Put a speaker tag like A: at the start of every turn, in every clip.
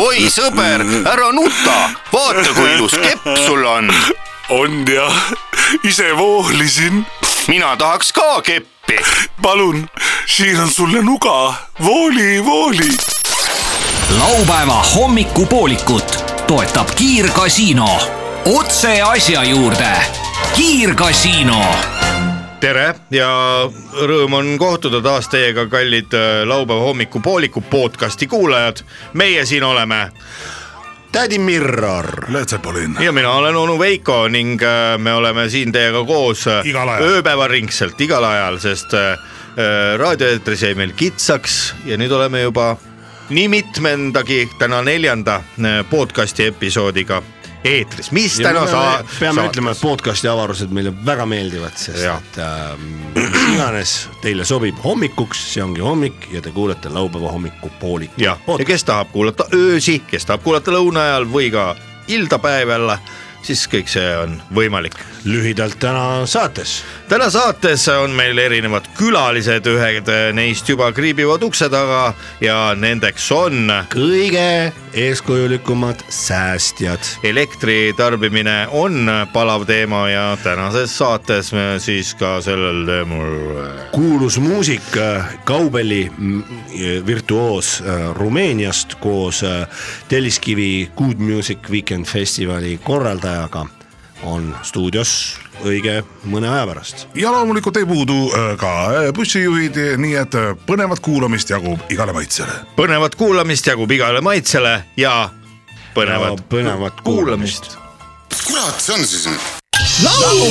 A: oi sõber , ära nuta , vaata kui ilus kepp sul on .
B: on ja ise voolisin .
A: mina tahaks ka keppi .
B: palun , siin on sulle nuga , vooli , vooli
C: laupäeva hommikupoolikut toetab Kiirgasiino . otse asja juurde . kiirgasiino
D: tere ja rõõm on kohtuda taas teiega , kallid äh, laupäeva hommikupooliku podcasti kuulajad . meie siin oleme
E: tädi Mirror .
B: Letsepolin .
D: ja mina olen onu Veiko ning äh, me oleme siin teiega koos äh,
E: Igal ajal.
D: ööpäevaringselt igal ajal , sest äh, äh, raadioeetris jäi meil kitsaks ja nüüd oleme juba nii mitmendagi , täna neljanda äh, podcasti episoodiga eetris , mis täna saa- .
E: peame ütlema , et podcast'i avarused meile väga meeldivad , sest
D: Jah.
E: et äh, mis iganes teile sobib hommikuks , see ongi hommik ja te kuulete laupäeva hommikupooliku .
D: jah , ja kes tahab kuulata öösi , kes tahab kuulata lõuna ajal või ka ildapäeval , siis kõik see on võimalik .
E: lühidalt täna saates
D: täna saates on meil erinevad külalised , ühed neist juba kriibivad ukse taga ja nendeks on
E: kõige eeskujulikumad säästjad .
D: elektri tarbimine on palav teema ja tänases saates me siis ka sellel teemal
E: kuulus muusik , kaubeli mm, virtuoos äh, Rumeeniast koos äh, Telliskivi Good Music Weekend festivali korraldajaga on stuudios õige mõne aja pärast .
F: ja loomulikult ei puudu äh, ka äh, bussijuhid , nii et äh, põnevat kuulamist jagub igale maitsele .
D: põnevat kuulamist jagub igale maitsele ja põnevat,
E: Ja põnevat kuulamist.
G: kurat see on siis nüüd ?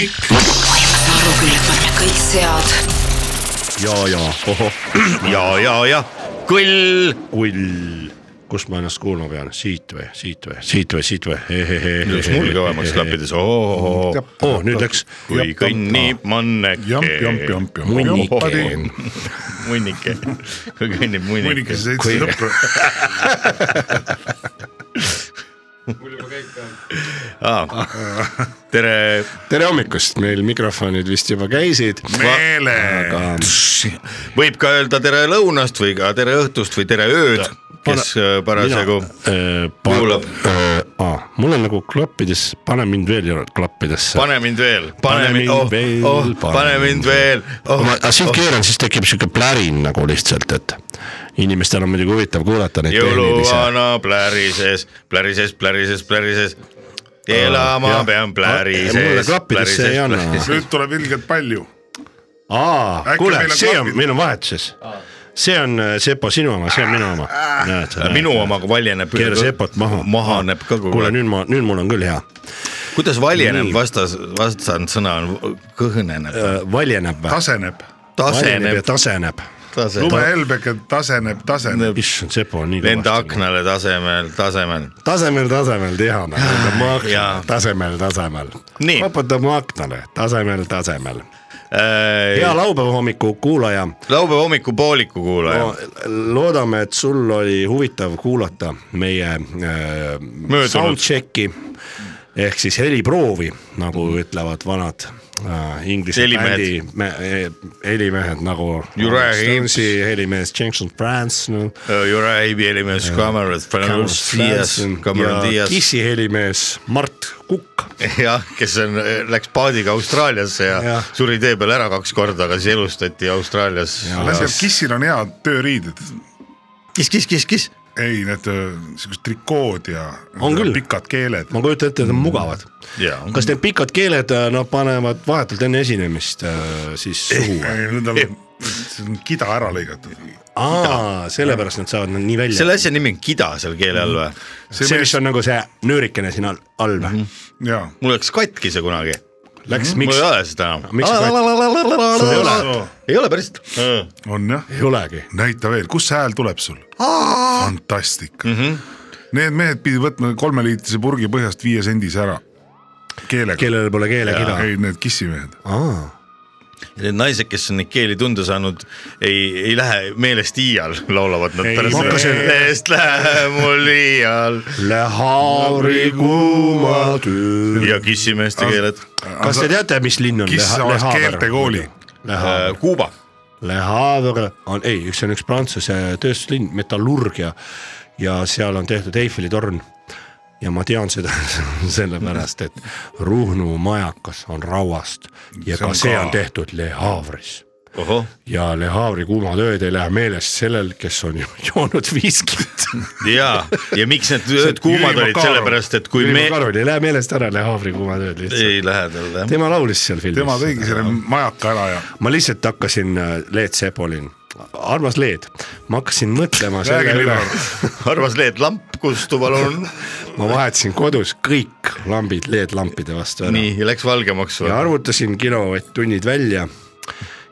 H: aru küll , et me oleme kõik sead .
E: ja , ja ohoh ,
D: ja , ja , ja kõll
E: kull , kust ma ennast kuulma pean , siit või siit või siit või siit või ?
D: läks mul kõvemaks . klappides , oo ,
E: oo , nüüd läks .
D: kui
F: jamp ,
D: kõnnib
F: jamp ,
D: manneke ,
F: jamp , jamp .
E: munnike .
D: munnike , kui kõnnib munnike
F: muidugi . see seitse sõpra .
D: tere ,
E: tere hommikust , meil mikrofonid vist juba käisid .
F: meele .
D: võib ka öelda tere lõunast või ka tere õhtust või tere ööd , kes äh, parasjagu
E: äh,
D: kuulab.
E: kuulab . Äh, mul on nagu klappides , pane mind veel jõudnud klappidesse .
D: pane mind veel , pane
E: Pane
D: mind ,
E: mind
D: oh ,
E: veel,
D: oh ,
E: pane
D: pane mind
E: mind
D: veel , oh
E: kui , ma ah, aga sind keeran , siis tekib sihuke plärin nagu lihtsalt , et inimestel on muidugi huvitav kuulata neid tehnilisi .
D: jõuluvana plärises , plärises , plärises , plärises , elama
E: Ah, Jah. eh,
D: pean plärises .
E: Mulle klappidesse ei anna.
F: nüüd tuleb ilgelt palju .
E: aa
F: Äkki ,
E: kuule
F: meil , on
E: see on
F: klapid? ,
E: meil on vahetuses . see on äh, Sepo sinu oma , see on minu oma .
D: Äh, minu . omaga valjeneb .
E: keera Sepot maha .
D: mahaneb ka kogu
E: kuule ,
D: aeg .
E: nüüd ma , nüüd mul on küll hea .
D: kuidas valjeneb
E: Nii.
D: vastas , vastandsõna on kõhneneb ,
E: Äh, valjeneb või ?
F: taseneb ,
E: valjeneb ja
D: taseneb ,
E: taseneb .
D: taseneb ,
F: lumehelbega taseneb , taseneb .
E: issand , Sepo on nii
D: lenda
E: kõvasti .
D: aknale tasemel , tasemel .
E: tasemel , tasemel , teame , võtab mu
D: Jaa.
E: akna , tasemel , tasemel .
D: Nii.
E: vaputab mu aknale , tasemel , tasemel . hea laupäeva hommiku kuulaja
D: laupäeva hommikupooliku kuulaja ,
E: no, . loodame , et sul oli huvitav kuulata meie äh, soundcheck'i ehk siis heliproovi , nagu ütlevad vanad äh, inglise
D: Mhm. Helimehed.
E: bändi me, eh, helimehed nagu .
D: Uriah Heep.
E: helimees Jackson France no, .
D: Oh, Juraibi helimees Cameron , Fernando Dias , Cameron
E: ja
D: Dias ,
E: Kissi helimees Mart Kukk
D: jah , kes on , läks paadiga Austraaliasse ja
E: Jah.
D: suri tee peal ära kaks korda , aga siis elustati Austraalias .
F: laseb , kissil on head tööriided .
D: kis , kis , kis , kis .
F: ei , need öö, siuksed trikood ja
E: On küll.
F: pikad keeled .
E: ma kujutan ette , et nad on mugavad .
D: Mhm. jaa ,
E: kas need pikad keeled , nad panevad vahetult enne esinemist äh, siis suhu või ?
F: Need on , see on kida ära lõigatud .
E: aa , sellepärast nad saavad nad nii välja .
D: selle asja nimi on kida seal keele all või ?
E: see, see , mis on nagu see nöörikene siin all , all või
F: Mhm.
E: mm ? -hmm.
F: jaa ,
D: mul läks katki see kunagi ,
E: Läks ,
D: mul
E: miks
D: ei ? ole seda
E: miks sa Sul ei
D: enam
E: ole? .
D: ei ole päriselt .
F: on jah .
E: ei olegi .
F: näita veel , kus see hääl tuleb sul ? fantastika mm .
D: Mhm.
F: -hmm. Need mehed pidid võtma kolmeliitrise purgi põhjast viie sendise ära . keelega Keel .
E: kellel pole keelekida .
F: ei , need kissimehed .
E: aa ,
D: Need naised , kes on neid keeli tunda saanud , ei , ei lähe meelest iial , laulavad nad
E: ma
D: pärast .
E: hakkasin-
D: meelest läheb mul iial
E: Lehavri kuuma töö .
D: ja Ah. kissimeeste keeled .
E: kas te teate , mis linn on
F: kiss avas
E: Lehaver?
F: keeltekooli .
E: Le
F: Äh.
E: Havre.
D: Äh, Kuuba .
E: Le Havre on , ei , üks on üks Prantsuse tööstuslinn , metallurgia ja seal on tehtud Eiffeli torn . ja ma tean seda sellepärast , et Ruhnu majakas on rauast
F: See
E: ja ka
F: on
E: see
F: ka-
E: on tehtud Le Havre'is
D: ohoh ,
E: ja Le Havre'i kuumad ööd ei lähe meelest sellel , kes on ju- joonud viskit .
D: ja , ja miks need ööd kuumad olid , sellepärast et kui me
E: Jüri Karvel ei lähe meelest ära Le Havre'i kuumad ööd lihtsalt .
D: ei lähe talle jah .
E: tema laulis seal filmis .
F: tema tegi selle majaka ära ja
E: ma lihtsalt hakkasin , Leet Sepolin , armas Leet , ma hakkasin mõtlema selle
F: räägi
E: üle ,
F: Linnar ,
D: arvas Leet Lamp , kustu palun .
E: ma vahetasin kodus kõik lambid LED-lampide vastu ära
D: nii , ja läks valgemaks
E: ja
D: või ?
E: arvutasin kilovatt-tunnid välja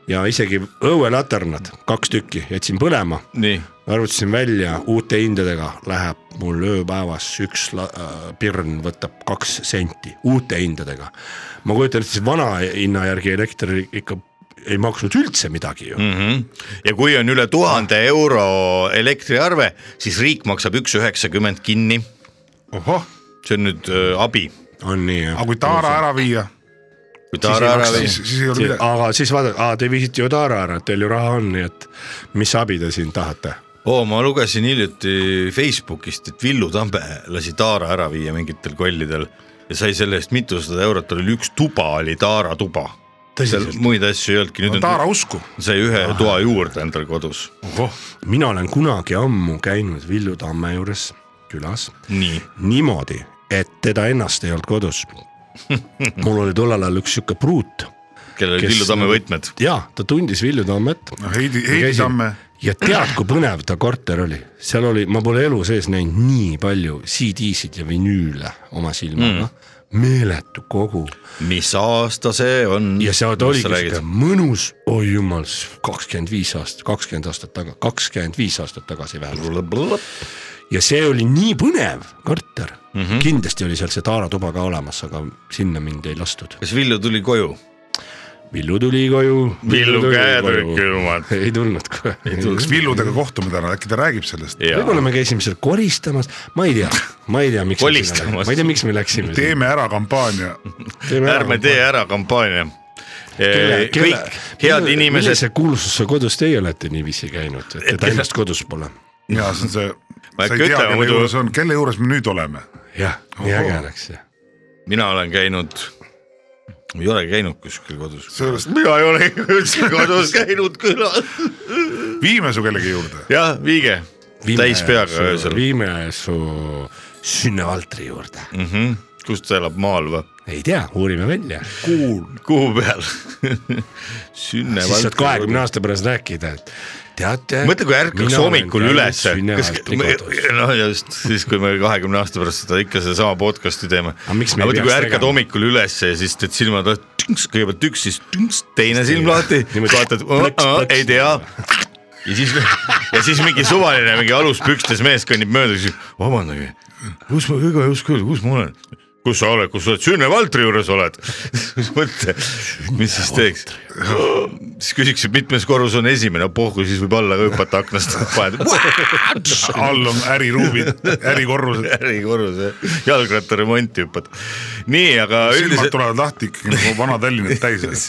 E: ja isegi õuelaternad , kaks tükki , jätsin põlema ,
D: nii ,
E: arvutasin välja uute hindadega läheb mul ööpäevas üks la- äh, pirn võtab kaks senti uute hindadega . ma kujutan ette , siis vana hinna järgi elekter ikka ei maksnud üldse midagi ju mm. .
D: Mhm. ja kui on üle tuhande euro elektriarve , siis riik maksab üks üheksakümmend kinni .
F: ohoh ,
D: see on nüüd öö, abi .
E: on nii jah
F: Mm. aga kui Taara ära viia ,
D: kui
F: siis
D: Taara
F: ei
D: ära
F: maksa ,
D: viis
F: siis , siis ei ole
E: Te-
F: midagi .
E: aga siis vaadake , te viisite ju Taara ära , teil ju raha on , nii et mis abi te siin tahate ?
D: oo , ma lugesin hiljuti Facebookist , et Villu Tamme lasi Taara ära viia mingitel kollidel ja sai selle eest mitusada eurot , tal oli üks tuba oli Taara tuba . seal
E: tõsiselt ,
D: muid asju ei olnudki , nüüd
F: Taara
D: on ,
F: usku ,
D: sai ühe toa juurde endal kodus .
F: Oh.
E: mina olen kunagi ammu käinud Villu Tamme juures külas
D: nii ,
E: niimoodi , et teda ennast ei olnud kodus . mul oli tollal ajal üks sihuke pruut
D: kellel
E: Kes-
D: Villu Tamme võtmed .
E: ja ta tundis Villu Tammet
F: noh Heidi , Heidi Tamme ,
E: ja tead , kui põnev ta korter oli , seal oli , ma pole elu sees näinud nii palju CD-sid ja vinüüle oma silmaga mm. , meeletu kogu
D: mis aasta see on ?
E: ja seal ta oligi sihuke mõnus , oi jumal , kakskümmend viis aastat , kakskümmend aastat taga , kakskümmend viis aastat tagasi vähemalt . ja see oli nii põnev korter mm , -hmm. kindlasti oli seal see Taara tuba ka olemas , aga sinna mind ei lastud .
D: kas Villu tuli koju ?
E: Villu tuli koju .
D: Villu käed olid . külmad .
E: ei tulnud kohe .
F: kas Villudega kohtume täna , äkki ta räägib sellest ?
E: võib-olla me käisime seal koristamas , ma ei tea , ma ei tea , miks .
D: Kolistamas.
E: ma ei tea , miks me läksime .
F: teeme ära kampaania ,
D: ärme tee ära kampaania . kõik head inimesed ,
E: millise kuulsusse kodus teie olete niiviisi käinud , et teda ennast kodus pole ?
F: ja see on see ,
D: Ma
F: sa
D: ei
F: ei tea ,
D: ütle,
F: kelle
D: muidu-
F: juures on , kelle juures me nüüd oleme ,
E: jah , nii
F: Ohoo.
E: äge oleks ju .
D: mina olen käinud , ei olegi käinud kuskil kodus .
F: sellepärast
D: mina ei ole üldse kodus käinud külas .
F: viime su kellegi juurde .
D: jah , viige täis peaga öösel ,
E: viime su sünnevaltri juurde mm. .
D: kus ta elab , maal või ?
E: ei tea , uurime välja .
D: kuhu peal ?
E: siis saad kahekümne
D: sünnevalk .
E: aasta pärast rääkida , et teate .
D: mõtle , kui ärkaks hommikul ülesse , kas , noh just siis , kui me kahekümne aasta pärast seda ikka sedasama podcast'i teeme .
E: Aga miks me ei
D: mõtle , kui
E: peaks
D: ärkad
E: tegema?
D: hommikul ülesse ja siis teed silmad lahti , tünks , kõigepealt üks , siis tünks , teine silm lahti ,
E: Niimoodi
D: vaatad
E: plõks, , plõks.
D: ei tea . ja siis , ja siis mingi suvaline , mingi aluspükstes mees kõnnib mööda , siis vabandage , kus ma , ega ei oska öelda , kus ma olen kus sa oled , kus sa oled , Sünne-Valtri juures oled . mõtle , mis siis teeks . siis küsiks , et mitmes korrus on esimene , pohhu , siis võib alla ka hüpata aknast , paned
F: all on äriruumid , ärikorrused ,
D: ärikorruse jalgrattaremonti hüppad . nii , aga
F: silmad
D: üldiselt
F: tulevad lahti ikkagi nagu Vana-Tallinnat täis .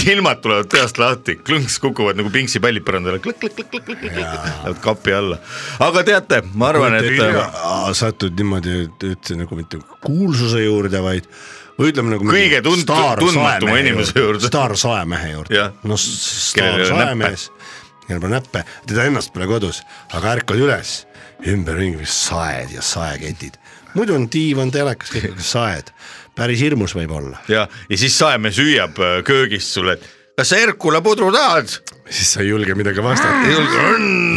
D: silmad tulevad peast lahti , klõnks kukuvad nagu pingssipallid põrandale , klõkk-klõkk-klõkk-klõkk-klõkk , lähevad kapi alla . aga teate , ma arvan , et äh,
E: nagu, satud niimoodi , üldse nagu mitte kuulsuse juurde , vaid või ütleme nagu .
D: Kõige tuntu- tundmatuma inimese juurde.
E: staarsaemehe juurde
D: Jah. .
E: noh ,
D: Kellel ei ole
E: staarsaemees , kellel pole näppe , teda ennast pole kodus , aga ärkad üles , ümberringi saed ja saeketid . muidu on diivan , telekas , kõik on saed , päris hirmus võib olla .
D: ja , ja siis saemees hüüab äh, köögist sulle , et kas sa Herkule pudru tahad ?
E: siis sa ei julge midagi vastata .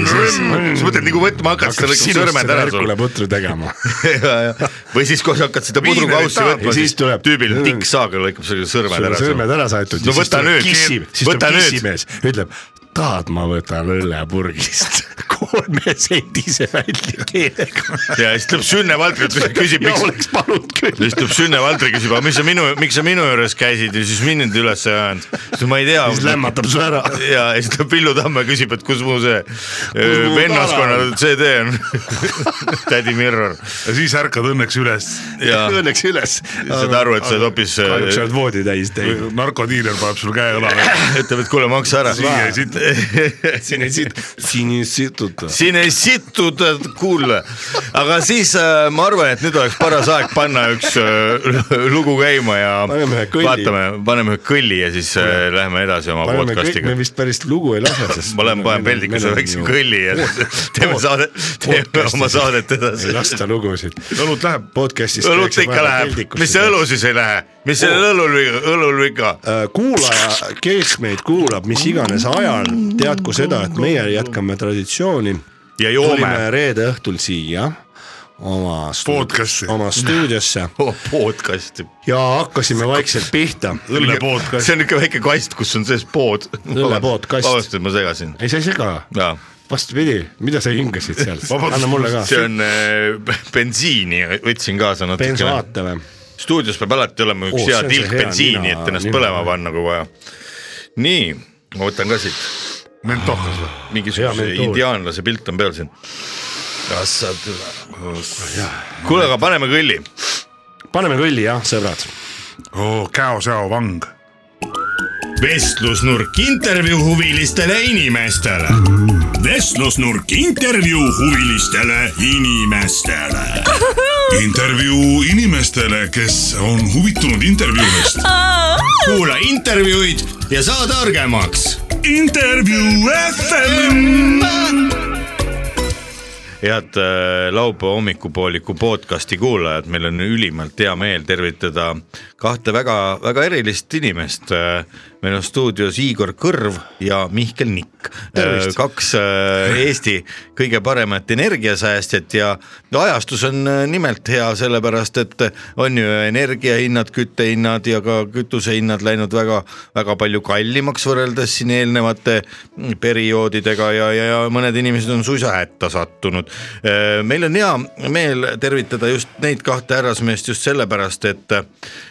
D: sa mõtled nagu võtma hakkad , siis ta lõikab sõrmed ära sulle .
E: putru tegema .
D: ja , ja või siis , kui sa hakkad seda pudrukaussi
F: Viinerit
D: võtma ,
E: Ja siis
D: siis
E: tuleb-
D: tuleb tüübil tikksaaga lõikab sulle sõrmed
E: sul on
D: ära .
E: sõrmed ära saetud .
D: no võta nüüd ,
E: siis
D: võta
E: tuleb
D: nüüd ,
E: kissimees , ütleb , tahad , ma võtan õllepurgist .
I: kolme sendise välja keelega .
D: ja siis tuleb Sünne Valtri , küsib ,
I: ja
D: miks ,
I: oleks palunud küll .
D: siis tuleb Sünne Valtri , küsib , aga mis sa minu , miks sa minu juures käisid ja siis mind üles ei ajanud . siis ma ei
I: siis
D: tea .
I: lämmatab su ära .
D: ja ja siis tuleb Villu Tamme , küsib , et kus mu see öö,
I: mu
D: vennaskonna
I: tala
D: CD on . tädi Mirror
F: ja siis ärkad õnneks üles .
D: ja
I: õnneks üles .
D: saad aru , et sa äh, oled hoopis ,
I: kahjuks sa oled voodi täis teinud .
F: narkodiiler paneb sul käe õlale .
D: ütleb , et kuule , maksa ära .
F: siia ja siit .
I: siin ei sit- , siin ei situta .
D: siin ei situta , kuule , aga siis äh, ma arvan , et nüüd oleks paras aeg panna üks äh, lugu käima ja
I: Paneme ühe kõlli.
D: vaatame , paneme ühe kõlli ja siis äh, läheme edasi oma
I: paneme kõik ,
D: podcast'iga
I: me . vist päris lugu ei lase , sest .
D: ma lähen panen peldikusse väikse kõlli ja teeme saade , teeme
I: podcast'is.
D: oma saadet
I: ei
D: edasi .
I: lasta lugusid .
F: õlut läheb .
I: podcast'is .
D: õlut ikka läheb , mis see õlu siis ei lähe , mis sellel õlul viga , õlul viga ,
I: Äh, kuulaja , kes meid kuulab , mis iganes ajal , teadku seda , et meie jätkame traditsiooni .
D: Ja joome.
I: tulime reede õhtul siia oma
F: Podcasti. .
I: oma stuudiosse
D: Oh, podcast .
I: ja hakkasime vaikselt pihta .
D: see on ikka väike kast , kus on sees pood .
I: Õllepood, kast.
D: vabandust , et ma segasin .
I: ei , sa ei sega ,
D: jaa
I: vastupidi , mida sa hingasid seal , anna mulle ka .
D: see on äh, bensiini , võtsin kaasa natukene .
I: bensaate või ?
D: stuudios peab alati olema üks
I: Oo,
D: oh, hea
I: see on see
D: tilk
I: hea
D: bensiini ,
I: nina-
D: et ennast
I: nina-
D: põlema panna , kui vaja . nii , ma võtan ka siit ,
F: mentokas või ?
I: Hea
D: mingisuguse
I: mentool.
D: indiaanlase pilt on peal siin . kuule , aga paneme kõlli .
I: paneme kõlli jah , sõbrad .
F: oo , käo-säo Oh, vang .
J: vestlusnurk intervjuu huvilistele inimestele . vestlusnurk intervjuu huvilistele inimestele .
F: intervjuu inimestele , kes on huvitunud intervjuudest .
J: kuula intervjuud ja saa targemaks . intervjuu FM .
D: head äh, laupäeva hommikupooliku podcasti kuulajad , meil on ülimalt hea meel tervitada kahte väga-väga erilist inimest . meil on stuudios Igor Kõrv ja Mihkel Nikk , kaks äh, Eesti kõige paremat energiasäästjat ja ajastus on äh, nimelt hea , sellepärast et äh, on ju energiahinnad , küttehinnad ja ka kütusehinnad läinud väga-väga palju kallimaks võrreldes siin eelnevate perioodidega ja , ja , ja mõned inimesed on suisa hätta sattunud . meil on hea meel tervitada just neid kahte härrasmeest just sellepärast , et ,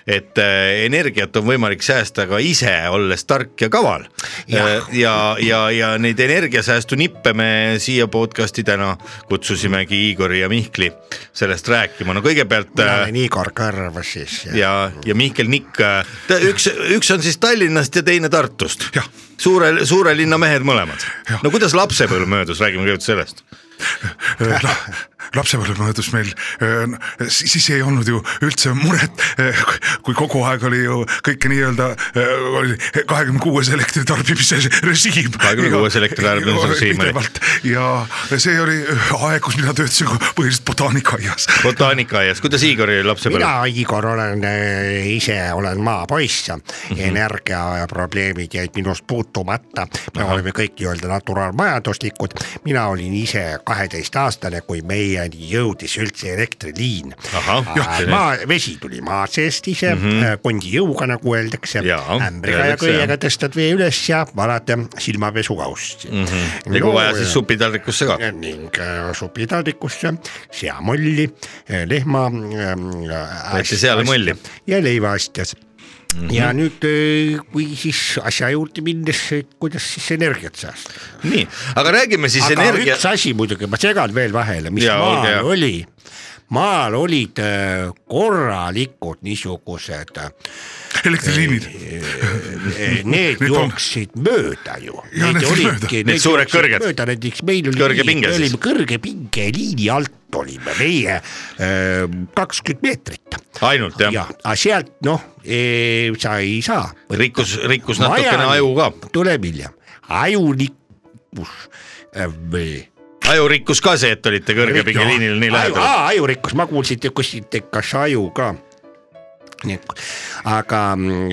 D: et äh, energiat on võimalik säästa ka ise , olles tark ja kaval . ja , ja, ja , ja neid energiasäästunippe me siia podcast'i täna kutsusimegi Igori ja Mihkli sellest rääkima , no kõigepealt äh,
I: Igor Kõrv siis .
D: ja , ja Mihkel Nikk ,
E: äh,
D: üks , üks on siis Tallinnast ja teine Tartust . suure , suure linna mehed mõlemad . no kuidas lapsepõlv möödus , räägime kõigepealt sellest .
F: Äh, La, lapsepõlv möödus meil , siis ei olnud ju üldse muret , kui kogu aeg oli ju kõike nii-öelda äh, kahekümne kuues elektritarbimise režiim .
D: 26 elektritarbimise režiim oli.
F: oli . ja see oli äh, aeg , kus mina töötasin kui põhiliselt botaanikaaias .
D: botaanikaaias , kuidas Igori lapsepõlv ?
E: mina , Igor , olen äh, ise olen maapoiss mm
D: Mhm.
E: -hmm. , energiaprobleemid jäid minust puutumata . me Aha. oleme kõik nii-öelda naturaalmajanduslikud , mina olin ise kaheteistaastane , kui meieni jõudis üldse elektriliin .
D: Ahah, selline-
E: maa , vesi tuli maa seest ise mm , -hmm. kondi jõuga , nagu öeldakse
D: Jaa, ,
E: ämbriga ja
D: öeldakse, jah.
E: köiega tõstad vee üles ja valad eh, silmapesukaussi mm . -hmm.
D: Mhm. ja kui vaja , siis supitaldrikusse ka .
E: ning äh, supitaldrikusse seamolli , äh, lehma .
D: Võeti seale molli. . Mhm.
E: ja leivaastjas mm . -hmm. ja nüüd , kui siis asja juurde minnes , kuidas siis energiat säästa .
D: nii , aga räägime siis
E: aga energia...
D: energia
E: üks , asi muidugi , ma segan veel vahele , mis
D: Jaa, olge
E: ja,
D: hea.
E: maal oli . maal olid äh, korralikud niisugused , äh,
F: elektriliinid ,
E: Eh, need
F: Need on-
E: jooksid mööda ju .
F: Jaa, need siis mööda.
D: Need suured kõrged.
E: mööda näiteks meil oli ,
D: Kõrge pinge
E: me
D: siis.
E: olime kõrge pinge liini alt olime meie eh, kakskümmend meetrit .
D: ainult jah
E: ja , aga sealt noh , sa ei saa .
D: rikkus , rikkus natukene aju ka ,
E: tuleb hiljem , aju rikkus äh, või-
D: aju rikkus ka see , et olite kõrgepingeliinil nii
E: aju ,
D: lähedal .
E: aa ajurikkus , ma kuulsin , te küsisite , kas aju ka . aga .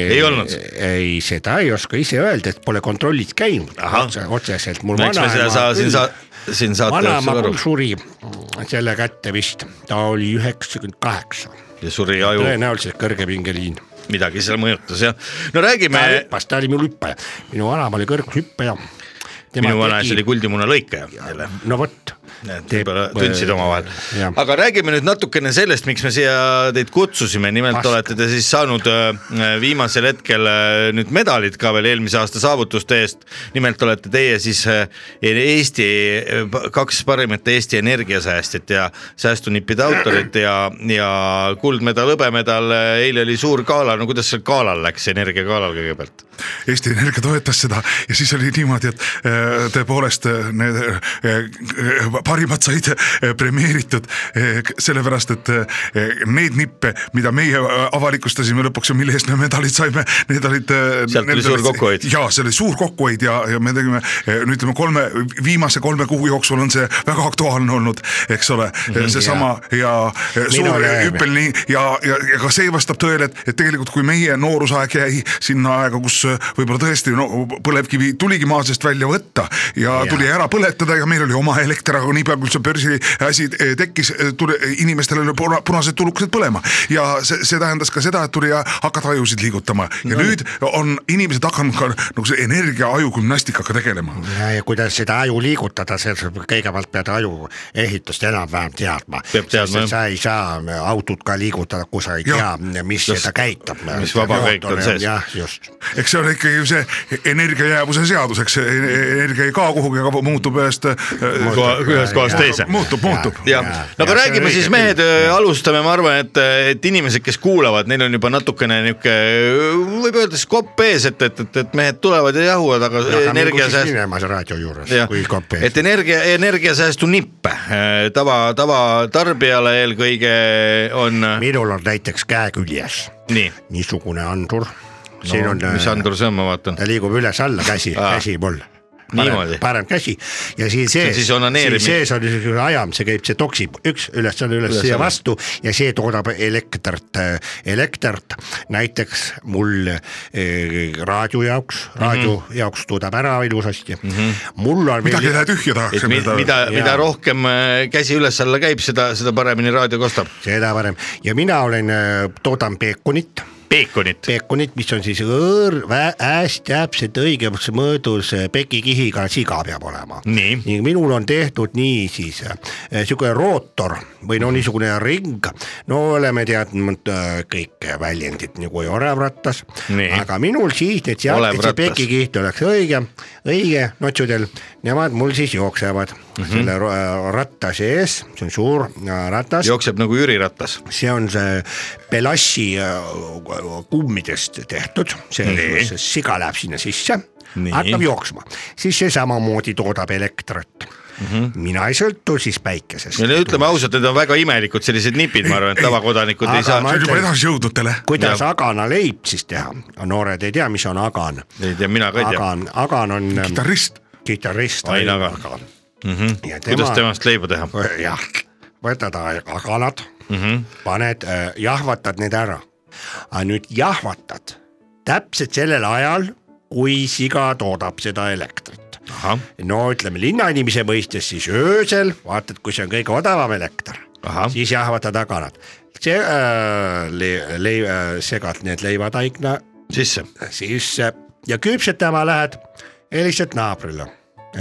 D: Ei olnud.
E: ei , seda ei oska ise öelda , et pole kontrollis käinud
D: Ahah.
E: otse , otseselt .
D: no eks me seda saa, siin saa- , siin saate
E: vanaema
D: jooksul aru
E: küll suri selle kätte vist , ta oli üheksakümmend kaheksa ,
D: ja suri aju ,
E: tõenäoliselt kõrgepingeliin .
D: midagi seal mõjutas jah . no räägime
E: ta hüppas , ta oli minu hüppaja , minu vanaema oli kõrgushüppaja . Tema
D: minu vanaisa
E: tegi-
D: oli kuldimuna lõikaja jälle .
E: no vot . äh,
D: Need võib-olla tundsid omavahel
E: jah. .
D: aga räägime nüüd natukene sellest , miks me siia teid kutsusime , nimelt
E: Vast-
D: olete te siis saanud öö, viimasel hetkel öö, nüüd medalid ka veel eelmise aasta saavutuste eest . nimelt olete teie siis öö, Eesti , kaks parimat Eesti energiasäästjat ja säästunipide autorit ja , ja kuldmedal , hõbemedal , eile oli suur gala , no kuidas seal galal läks , energiagalal kõigepealt ?
F: Eesti Energia toetas seda ja siis oli niimoodi , et äh, tõepoolest äh, need äh, äh, parimad said äh, premeeritud äh, k- sellepärast , et äh, need nippe , mida meie äh, avalikustasime lõpuks ja mille eest me medalid saime , need olid .
D: Sealt tuli suur kokkuhoid.
F: ja see oli suur kokkuhoid ja , ja me tegime , no ütleme , kolme , viimase kolme kuu jooksul on see väga aktuaalne olnud , eks ole ,
D: Mhm,
F: seesama ja, äh, ja suur
E: näeme.
F: hüppeline ja , ja , ja ka see vastab tõele , et , et tegelikult kui meie noorusaeg jäi sinna aega , kus äh, võib-olla tõesti no põlevkivi tuligi maa seest välja võtta ja, ja. tuli ära põletada ja meil oli oma elekter , aga niipea kui see börsi asi eh, tekkis , tuli inimestele olid puna- punased tulukesed põlema ja see , see tähendas ka seda , et tuli äh, hakata ajusid liigutama ja no. nüüd on inimesed hakanud ka nagu see energiaaju gümnastikaga tegelema .
E: ja , ja kuidas seda aju liigutada , see kõigepealt pead aju ehitust enam-vähem teadma .
D: Peab teadma, jah.
E: sa ei saa autot ka liigutada , kui sa ei
F: Jah.
E: tea , mis
D: Just.
E: seda käitab .
D: Mis vaba käik on sees. Äh,
E: jah , just .
F: eks see on ikkagi ju see energiajäävuse seadus , eks see energia ei kao kuhugi , aga muutub ühest .
D: Koha- ühest kohast teise.
F: muutub , muutub .
D: jah , no aga räägime siis mehed , alustame , ma arvan , et , et inimesed , kes kuulavad , neil on juba natukene niuke , võib öelda siis kopp ees , et , et , et , et mehed tulevad ja jahuvad , aga energiasääst- .
E: minema see raadio juures ,
D: jah
E: kui , kopi .
D: et energia , energiasäästu nippe eh, tava , tavatarbijale eelkõige on
E: minul on näiteks käe küljes
D: nii .
E: niisugune andur no, . siin on , äh,
D: mis Andur see on , ma vaatan ,
E: ta liigub üles-alla käsi ,
D: Aa.
E: käsi mul .
D: Niimoodi.
E: parem käsi ja siin sees ,
D: siis onaneerimine.
E: siin sees on niisugune ajam , see käib , see toksib üks üles-alla , üles ja
D: Üles-alla.
E: vastu ja see toodab elektrit , elektrit näiteks mul eh, raadio jaoks , raadio mm -hmm. jaoks toodab ära ilusasti mm . -hmm. mul on
F: midagi ei lähe
E: veel ,
F: tühja
D: et
F: tahaks .
D: mi- mida , mida
E: Jaa.
D: rohkem eh, käsi üles-alla käib , seda , seda paremini raadio kostab .
E: seda parem ja mina olen , toodan peekonit
D: peekonit ,
E: peekonit , mis on siis õõr , hästi täpselt õigemas mõõdus äh, pekikihiga siga peab olema .
D: Nii.
E: ning minul on tehtud niisiis niisugune rootor või
D: Mhm.
E: no niisugune ring , no oleme teadnud äh, kõik väljendid nagu orav rattas ,
D: Nii.
E: aga minul siis need sealt ,
D: Olev
E: et see
D: ratas.
E: pekikiht oleks õige , õige notsudel , nemad mul siis jooksevad mm
D: Mhm.
E: -hmm. selle ro- äh, ratta sees , see on suur äh, ratas
D: jookseb nagu Jüri Ratas .
E: see on see Belassi äh, kummidest tehtud , see
D: Nii.
E: see siga läheb sinna sisse
D: Nii. ,
E: hakkab jooksma , siis see samamoodi toodab elektrit mm . -hmm. mina ei sõltu siis päikesest
D: Mhm. ja no ütleme ausalt , need on väga imelikud sellised nipid , ma arvan , et tavakodanikud ei
E: Aga
D: saa
E: ma-
F: see on juba edasijõudnutele .
E: kuidas
D: Jah.
E: agana leib siis teha , noored ei tea , mis on agan .
D: ei tea , mina ka ei tea .
E: agan , agan on äh,
F: kitarrist ,
E: kitarrist .
D: Ain Agan.
E: mm . -hmm. ja
D: Mhm. kuidas
E: tema ,
D: temast leiba teha ?
E: jah , võtad ag- aganad mm , -hmm. paned , jahvatad need ära . aga nüüd jahvatad täpselt sellel ajal , kui siga toodab seda elektrit .
D: ahah ,
E: no ütleme linnainimese mõistes siis öösel vaatad , kui see on kõige odavam elekter ,
D: Ahah.
E: siis jahvatad aganad . see äh, le- , le- , segad need leivataigna
D: sisse ,
E: sisse ja küpsetama lähed , helistad naabrile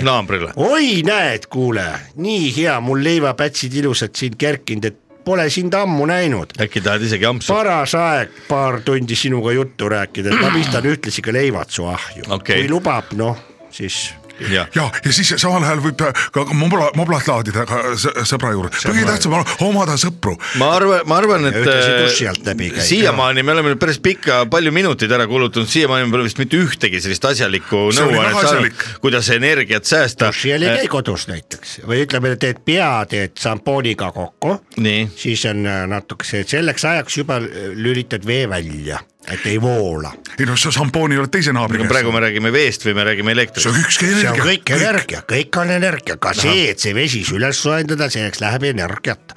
D: naabrile .
E: oi , näed , kuule , nii hea , mul leivapätsid ilusad siin kerkinud , et pole sind ammu näinud .
D: äkki tahad isegi ampsu ?
E: paras aeg paar tundi sinuga juttu rääkida , et ma pistan ühtlasi ka leivad su ahju
D: Okei.
E: kui lubab , noh siis
D: jah ,
F: ja , ja siis samal ajal võib ka mobla , moblat laadida ka sõ- sõbra juurde , kõige tähtsam on omada sõpru .
D: ma arvan , ma arvan , et
E: ühtlasi
D: äh,
E: dussi alt läbi käia.
D: siiamaani me oleme nüüd päris pikka , palju minuteid ära kulutanud , siiamaani me pole vist mitte ühtegi sellist asjalikku
F: See oli
D: nõuannet
F: väga
D: saanud
F: asjalik. ,
D: kuidas energiat säästa . Äh,
E: duši all ei käi kodus näiteks või ütleme , teed pea , teed šampooniga kokku ,
D: nii ,
E: siis on äh, natukese , selleks ajaks juba äh, lülitad vee välja , et ei voola .
F: ei no sa šampooni oled teise naabri
D: aga praegu
F: käes .
D: me räägime veest või me räägime
F: see on
D: elektrist ?
F: ükski
E: see on kõik
F: energia .
E: energia , kõik on energia , ka see , et see vesi üles soojendada , selleks läheb energiat .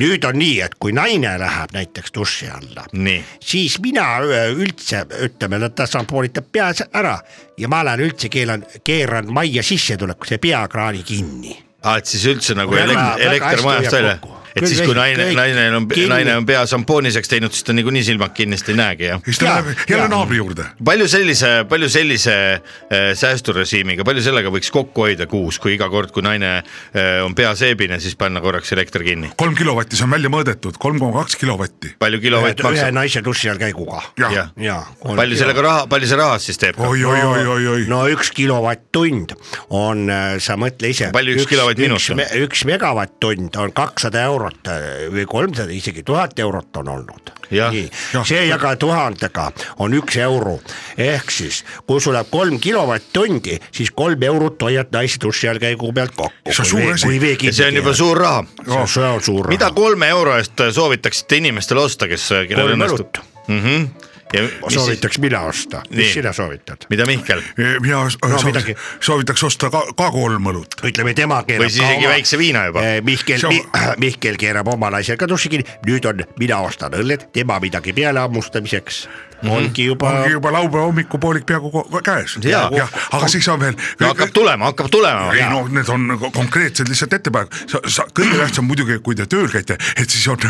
E: nüüd on nii , et kui naine läheb näiteks duši alla ,
D: nii ,
E: siis mina öö, üldse ütleme , ta šampoonitab pea ära ja ma lähen üldse keelan , keeran majja sissetulekuse peakraani kinni .
D: aa , et siis üldse nagu
E: Väga-
D: elekt-
E: väga hästi
D: elekter majast
E: hoiab
D: välja
E: kokku. .
D: et siis , kui naine , naine on , naine on pea šampooniseks teinud , siis ta niikuinii silmad kinnist ei näegi , jah .
F: siis ta läheb jälle naabri juurde .
D: palju sellise , palju sellise äh, säästurežiimiga , palju sellega võiks kokku hoida kuus , kui iga kord , kui naine äh, on pea seebine , siis panna korraks elekter kinni ?
F: kolm kilovatti , see on välja mõõdetud , kolm koma kaks kilovatti .
D: palju kilovatt
E: ühe
D: maksab ?
E: naise duši all käiguga .
F: jah ,
E: jaa .
D: palju sellega raha , palju see rahas siis teeb ?
F: oi , oi , oi , oi , oi .
E: no üks kilovatt-tund on , sa mõtle ise .
D: Palju üks kilovatt-minut on?
E: on ? üks megavatt-tund on kakssada eurot äh, või kolmsada , isegi tuhat eurot on olnud .
D: Jah.
E: nii ,
F: Jah.
E: see jaga tuhandega on üks euro , ehk siis kui sul läheb kolm kilovatt-tundi , siis kolm eurot hoiad naise duši all käigu pealt kokku .
F: See on suur asi.
D: ja see on juba suur raha .
E: see on suur, suur
D: mida kolme euro eest äh, soovitaksite inimestele osta , kes , kellel
E: kolm
D: õnnestub
E: õlut ?
D: mm ? -hmm. ja mis ,
E: soovitaks mina osta ,
D: Nii.
E: mis sina soovitad ?
D: mida Mihkel
F: mina
E: midagi.
F: soovitan- soovitaks osta ka , ka kolm õlut .
E: ütleme , tema keerab .
D: Või siis isegi väikse viina juba.
E: Mihkel
F: See on-
E: on... , Mihkel keerab oma naisel ka duši kinni , nüüd on , mina ostan õlled , tema midagi peale hammustamiseks
D: Mhm.
E: mm. . ongi juba
F: ongi juba laupäeva hommikupoolik peaaegu ko- käes .
D: Jaa.
F: jah , aga siis on veel .
D: no, hakkab tulema , hakkab tulema .
F: ei no need on ko- konkreetsed lihtsalt ettepanekud , sa , sa , kõige tähtsam muidugi , kui te tööl käite , et siis on ,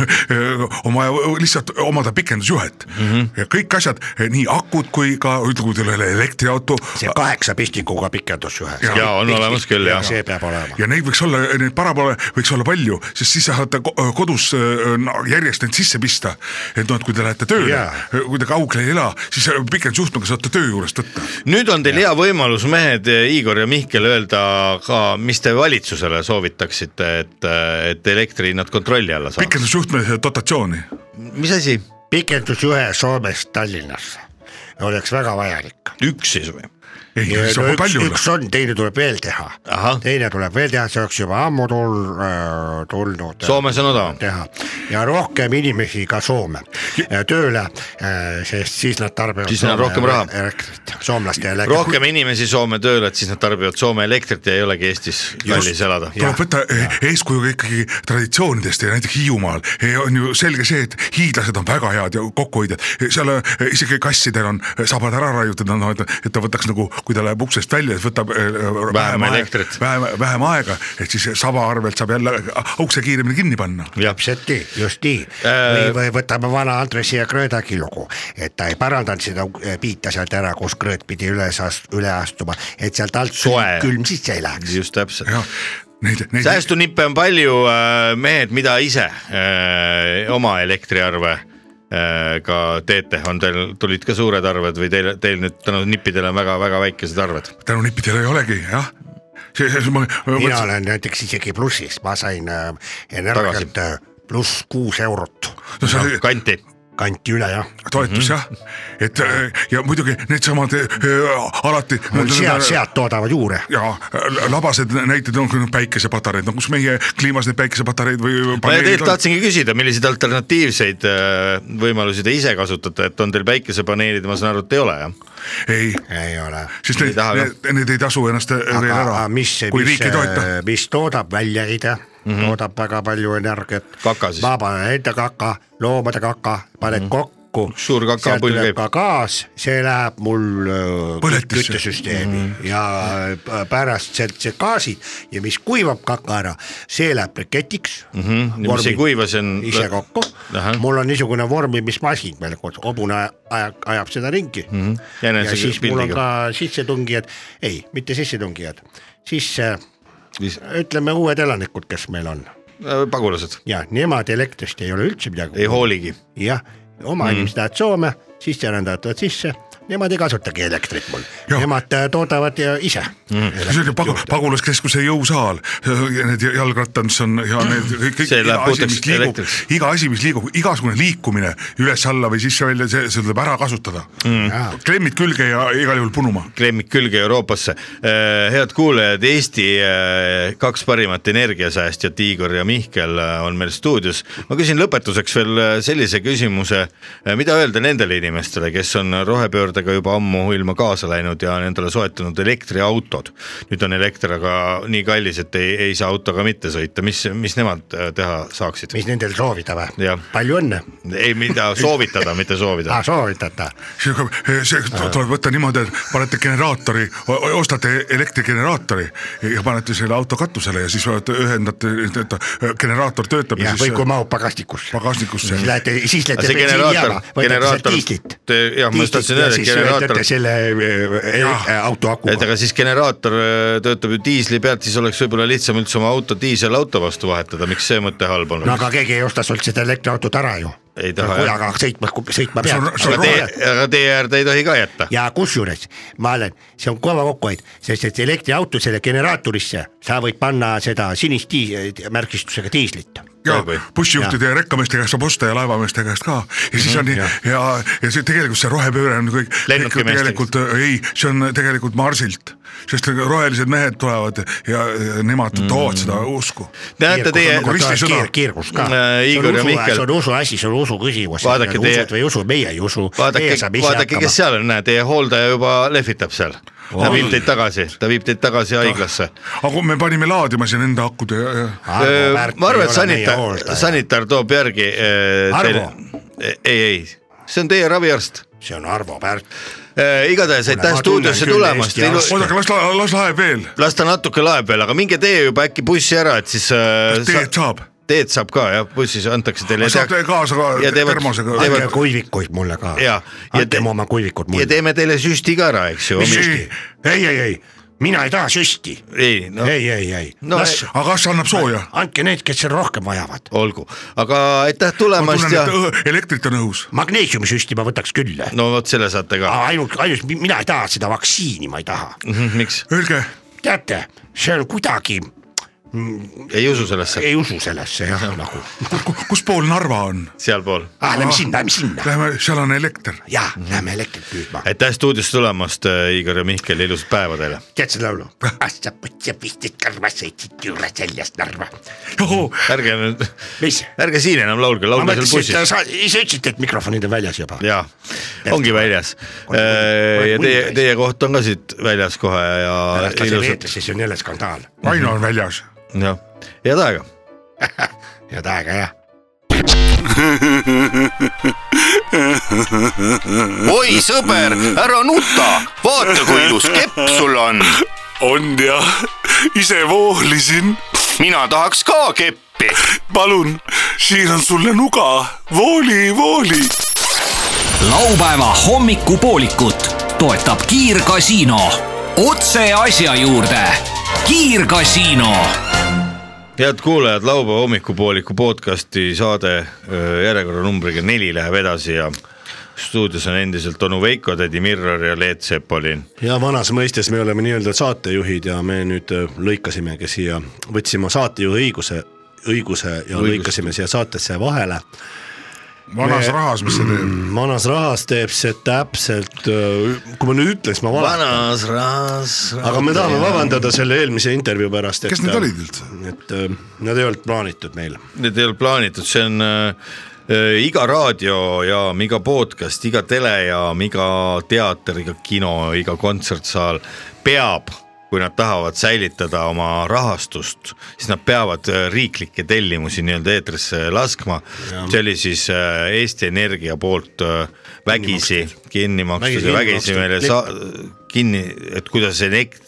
F: on vaja lihtsalt omada pikendusjuhet mm . -hmm. ja kõik asjad , nii akud kui ka ütleme , kui teil ei ole elektriauto
E: see kaheksa pistikuga pikendus ühes .
F: Jaa,
D: jaa , on olemas küll jah .
E: see peab olema .
F: ja neid võiks olla , neid parapole võiks olla palju , sest siis saate ko- kodus äh, no, järjest neid sisse pista . et noh , et kui te lähete tööle
E: Jaa.
F: yeah. , kui te kaugel ei ela , siis äh, pikendusjuhtmega saate töö juurest võtta .
D: nüüd on teil hea võimalus , mehed Igor ja Mihkel , öelda ka , mis te valitsusele soovitaksite , et , et elektrihinnad kontrolli alla saaks .
F: pikendusjuhtme dotatsiooni .
D: mis asi ?
E: pikendus ühe Soomest Tallinnasse oleks väga vajalik .
D: üks siis või ?
F: ei ,
E: Ja
F: see
E: no
F: on
E: üks ,
F: palju .
E: üks on , teine tuleb veel teha
D: Ahah. .
E: teine tuleb veel teha , see oleks juba ammu tul- , tulnud .
D: Soomes on odavam .
E: teha ja rohkem inimesi ka Soome äh, tööle , sest siis nad tarbivad .
D: Siis neil on rohkem raha.
E: elektrit , soomlaste elektrit .
D: rohkem inimesi Soome tööle , et siis nad tarbivad Soome elektrit ja ei olegi Eestis kallis elada .
F: tuleb võtta eh, eeskuju ikkagi traditsioonidest ja näiteks Hiiumaal eh, on ju selge see , et hiidlased on väga head ja kokkuhoidjad , seal eh, isegi kassidel on eh, sabad ära raiutud , noh et , et ta võtaks nagu , kui ta läheb uksest välja , siis võtab eh,
D: elektrit.
F: vähem , vähem aega , et siis saba arvelt saab jälle eh, ukse kiiremini kinni panna .
E: täpselt nii , just nii või ,
D: Äh,
E: või võtame vana Andresi ja Kröödagi lugu , et ta ei parandanud seda eh, piita sealt ära , kus Krööt pidi üles ast- , üle astuma , et sealt alt
D: Soe.
E: külm- külm sisse ei läheks .
D: just täpselt .
F: jah , neid , neid ,
D: säästunippe on palju , mehed , mida ise äh, oma elektriarve äh, ka teete , on teil , tulid ka suured arved või teil , teil nüüd tänu nippidele on väga-väga väikesed arved ?
F: tänu nippidele ei olegi jah . see , see , ma , ma
E: mina
F: mõtlesin ,
E: olen näiteks isegi plussis , ma sain äh, energiat äh, pluss kuus eurot ,
F: no see oli
D: kanti
E: kanti üle jah .
F: toetus jah , et eh, ja muidugi needsamad eh, eh, alati .
E: mul sead , sead toodavad juure
F: ja l- labased näited on küll päikesepatareid , no kus meie kliimas neid päikesepatareid või või
D: ma
F: paneelid
D: tegelikult
F: on.
D: tahtsingi küsida , milliseid alternatiivseid äh, võimalusi te ise kasutate , et on teil päikesepaneelid , ma saan aru , et ei ole jah ?
F: ei ,
E: ei ole
F: siis
D: Ei
F: need
D: taha ka. ,
F: need ei tasu ennast äh, veel ära
E: aga , mis ,
F: kui
E: mis
F: riik ei toeta .
E: äh, mis toodab väljaheide mm , -hmm. toodab väga palju energiat .
D: Mhm. Kaka siis. Mhm.
E: ma panen enda kaka , loomade kaka , panen mm -hmm. kokku .
D: suur kaka, pull käib.
E: ka gaas , see läheb mul äh,
F: Põletisse.
E: küttesüsteemi mm
D: Mhm.
E: -hmm. ja äh, pärast see , see gaasid ja mis kuivab kaka ära , see läheb briketiks mm .
D: Mhm, ja mis ei kuiva, see on-
E: ise kokku
D: Ahah. ,
E: mul on niisugune vormimismasin meil kodus , hobune ajab , ajab seda ringi mm . -hmm.
D: Jänese
E: ja siis mul on
D: pildiga.
E: ka sissetungijad , ei , mitte sissetungijad , sisse
D: Mis-
E: ütleme uued elanikud , kes meil on
D: Äh, pagulased
E: ja nemad elektrist ei ole üldse
D: ei
E: midagi .
D: hooligi .
E: jah , oma mm. inimesed lähevad Soome , sisserändajad tulevad sisse , nemad ei kasutagi elektrit mul ,
F: Jah. Mhm.
E: nemad äh, toodavad ja ise mm. .
F: see oli pagu- , pagulaskeskuse jõusaal , need jalgrattad , mis on ja need kõik , kõik
D: See läheb
F: iga asi , mis
D: puhtaks
F: liigub
D: elektriks. ,
F: iga asi , mis liigub , igasugune liikumine üles-alla või sisse-välja , see , see tuleb ära kasutada mm. . klemmid külge ja igal juhul punuma .
D: klemmid külge Euroopasse . head kuulajad , Eesti eh, kaks parimat energiasäästjat , Igor ja Mihkel eh, on meil stuudios . ma äh, küsin lõpetuseks veel eh, sellise küsimuse , mida öelda nendele inimestele , kes on rohepöörde sõpradega juba ammuilma kaasa läinud ja on endale soetanud elektriautod. nüüd on elekter aga nii kallis, et ei , ei saa autoga mitte sõita , mis , mis nemad äh, teha saaksid ?
K: mis nendel soovida või ?
D: jah ,
K: palju õnne .
D: ei , mida soovitada , mitte soovida
E: Ah,
K: aa ,. soovitada .
F: eh,
K: Äh.
F: see tuleb võtta niimoodi , et panete generaatori , ostate elektrigeneraatori ja panete selle auto katusele ja siis olete- ühendate , generaator töötab ja
K: jah , või
F: siis äh,
K: kui mahub pagasnikusse .
F: pagasnikusse
K: siis lähete , siis
D: Aga
K: lähete
D: see generaator
K: bensiinijaama ,, võtate sealt
D: generaator
K: diislit .,
D: jah , ma just tahtsin öelda , et generaator
K: generaator . selle äh,
F: Jah.
K: äh, auto
D: et
K: akuga .
D: aga siis generaator öö, töötab ju diisli pealt , siis oleks võib-olla lihtsam üldse oma auto diiselauto vastu vahetada , miks see mõte halb
K: no
D: olnud ?
K: aga keegi ei osta sult seda elektriautot ära ju .
D: Ei taha, jah.
K: kujaga sõitma , sõitma
F: See on- see on
D: aga tee
K: pead .,
D: aga tee äärde ei tohi ka jätta .
K: ja kusjuures ma olen , see on kõva kokkuhoid , sest et elektriauto selle generaatorisse sa võid panna seda sinist diis- , märgistusega diislit .
F: ja
D: Või-
F: bussijuhtide ja rekkameeste käest saab osta ja laevameeste käest ka ja
K: Mhm,
F: siis on nii ja , ja see tegelikult see rohepööre on kõik , kõik
D: Lennukimeeste
F: ju tegelikult ei , see on tegelikult Marsilt , sest rohelised mehed tulevad ja ja nemad
K: Mhm.
F: toovad seda usku .
D: näete teie ,
F: nagu ristisõda.
K: kiirgus ka
D: Äh, . Igor ja Mihkel.
K: see on usuasi , see on usu küsimus .
D: Vaadake teie-
K: usud või ei usu , meie ei usu .
D: vaadake , vaadake , kes seal on , näe , teie hooldaja juba lehvitab seal . ta viib teid tagasi , ta viib teid tagasi haiglasse .
F: aga me panime laadima siin enda akude ja , ja
D: ma arvan , et sanitar , sanitar toob järgi .
K: Arvo.
D: ei , ei , see on teie raviarst .
K: see on Arvo Pärt .
D: igatahes
K: Kuule,
D: aitäh
K: ma
D: stuudiosse
K: tunnen küll
D: tulemast
K: Eesti . arsti.
F: oodake , las , las laeb veel ,
D: las ta natuke lae peal , aga minge tee juba äkki bussi ära , et siis äh,
F: teed
D: sa,
F: saab ,
D: teed saab ka jah , bussis antakse teile .
F: saate kaasa
D: ja
F: ka
D: teevad-
F: termosega
D: teevad- .
K: andke kuivikuid mulle ka .
D: ja , ja,
K: andke mu oma kuivikud
D: ja
K: mulle .
D: teeme teile süsti ka ära , eks ju .
K: ei , ei , ei, ei , mina ei taha süsti .
D: ei , no
K: ei , ei , ei
D: No
K: no, , las ,
F: aga kas annab sooja ?
K: andke need , kes seda rohkem vajavad .
D: olgu , aga aitäh
F: ma
D: tulemast
F: tunnen ,
D: ja
F: et õh- elektrit on õhus .
K: magneesiumisüsti ma võtaks küll .
D: no vot selle saate
E: Ah.
D: ka ,
K: ainult , ainult mi- mina ei taha seda vaktsiini , ma ei taha .
D: miks
F: Öelge ,
K: teate , see on kuidagi ,
D: ei usu sellesse ,
K: ei usu sellesse jah , nagu .
F: kus pool Narva on ?
D: sealpool .
K: ah , lähme sinna , lähme sinna .
F: Läheme , seal on elekter .
K: jaa , lähme elektrit püüdma .
D: aitäh stuudiosse tulemast , Igor ja Mihkel , ilusat päeva teile .
K: tead seda laulu ? sa mõtlesid , pistid karva , sõitsid juurde seljast Narva .
D: ärge nüüd ,
K: mis ?
D: ärge siin enam laulge ,
K: ma
D: laulge seal
K: mõtlesin ,
D: bussis .
K: et sa saad- ise ütlesite , et mikrofonid on väljas juba .
D: jaa , ongi väljas . ja teie , teie koht on ka siit väljas kohe ja
K: pärast lase
D: ilusat ,
K: veetrisse , see on jälle skandaal .
F: Aino on väljas .
D: jah , head aega .
K: head aega jah .
A: oi sõber , ära nuta , vaata kui ilus kepp sul on .
B: on jah , ise voolisin ,
A: mina tahaks ka keppi .
B: palun , siin on sulle nuga , vooli , vooli
C: laupäeva hommikupoolikut toetab Kiirgasiino . otse asja juurde . kiirgasiino
D: head kuulajad , laupäeva hommikupooliku podcasti saade öö, järjekorranumbriga neli läheb edasi ja stuudios on endiselt onu Veiko , tädi Mirror ja Leet Sepolin .
E: ja vanas mõistes me oleme nii-öelda saatejuhid ja me nüüd äh, lõikasimegi siia , võtsime saatejuhi õiguse , õiguse ja
D: Õigust.
E: Õigust. lõikasime siia saatesse vahele .
F: vanas Me... rahas , mis see teeb .
E: vanas rahas teeb see täpselt , kui ma nüüd ütlen , siis ma valetan ,
D: vanas rahas .
E: aga me tahame vabandada selle eelmise intervjuu pärast , et
F: kes need olid üldse ?
E: et äh, nad ei olnud plaanitud meil .
D: Need ei olnud plaanitud , see on öö, öö, iga raadiojaam , iga podcast , iga telejaam , iga teater , iga kino , iga kontsertsaal peab , kui nad tahavad säilitada oma rahastust , siis nad peavad öö, riiklikke tellimusi nii-öelda eetrisse laskma . see oli siis öö, Eesti Energia poolt öö, vägisi kinni makstud ja vägisi
E: Vägisi kinni
D: meile
E: makstud.
D: sa- kinni , et kuidas elekt- ,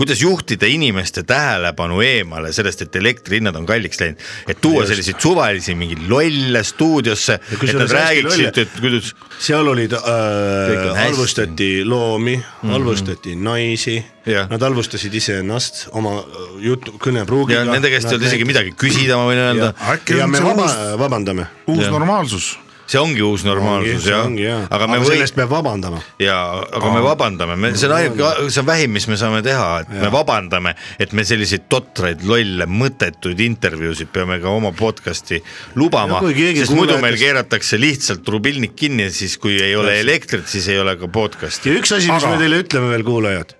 D: kuidas juhtida inimeste tähelepanu eemale sellest , et elektrihinnad on kalliks läinud , et tuua selliseid suvalisi mingeid lolle stuudiosse , et
E: kusjuures
D: nad
E: hästi
D: räägiksid ,
E: lolle.
D: et kuidas
E: seal olid
D: Kõik on
E: äh, ,
D: hästi. Mhm.
E: halvustati loomi mm , -hmm. halvustati naisi
D: Jah.
E: nad halvustasid iseennast oma äh, jutu , kõnepruugiga .
D: ja nende käest ei olnud isegi midagi küsida , ma võin öelda ,
F: Äkki
E: ja
F: on
E: me
F: see
E: vaba
F: uus ,
E: vabandame .
F: uus normaalsus ?
D: see ongi uus normaalsus jah ,
E: aga
D: aga me või-
E: sellest , peab vabandama .
D: ja aga me vabandame , me , see on ainuke , see on vähim , mis me saame teha , et ja. me vabandame , et me selliseid totraid , lolle , mõttetuid intervjuusid peame ka oma podcast'i lubama
E: Ja , kui keegi
D: sest muidu
E: kuulajatest-
D: meil keeratakse lihtsalt rubilnik kinni , siis kui ei ole elektrit , siis ei ole ka podcast'i .
E: ja üks asi , mis
F: Aga-
E: me teile ütleme veel , kuulajad ,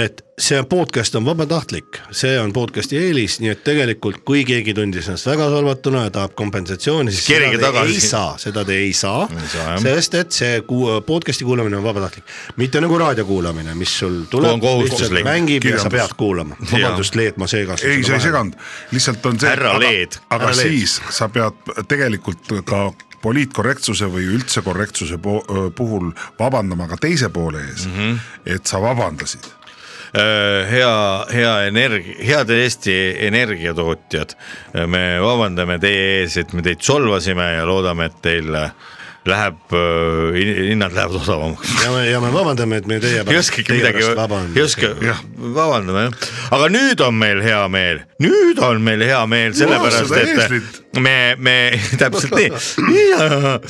E: et see podcast on vabatahtlik , see on podcast'i eelis , nii et tegelikult kui keegi tundis ennast väga solvatuna ja tahab kompensatsiooni , siis
D: Kerige
E: seda te
D: tagasi.
E: ei saa , seda te ei saa
D: saa, jah. ,
E: sest et see kuu- podcast'i kuulamine on vabatahtlik . mitte nagu raadio kuulamine , mis sul
D: on
E: tuleb ,
D: kohustuslik.
E: lihtsalt mängib ja sa
F: Kirjandus.
E: pead kuulama . vabandust , Leet , ma seegasin .
F: ei , sa ei seganud , lihtsalt on see .
D: Härra Leed.
F: aga
E: Härra Leed.
F: siis sa pead tegelikult ka poliitkorrektsuse või üldse korrektsuse po- puhul vabandama ka teise poole ees mm ,
D: Mhm.
F: -hmm. et sa vabandasid .
D: Äh, hea , hea energia , head Eesti energiatootjad , me vabandame teie ees , et me teid solvasime ja loodame , et teil äh, läheb , hinnad lähevad odavamaks .
E: ja me , ja me vabandame , et me teie
D: ei oskagi midagi , ei oska
E: vabandada .,
D: vabandame jah , aga nüüd on meil hea meel , nüüd on meil hea meel sellepärast ,
F: seda eeslit.
D: et me , me täpselt nii ,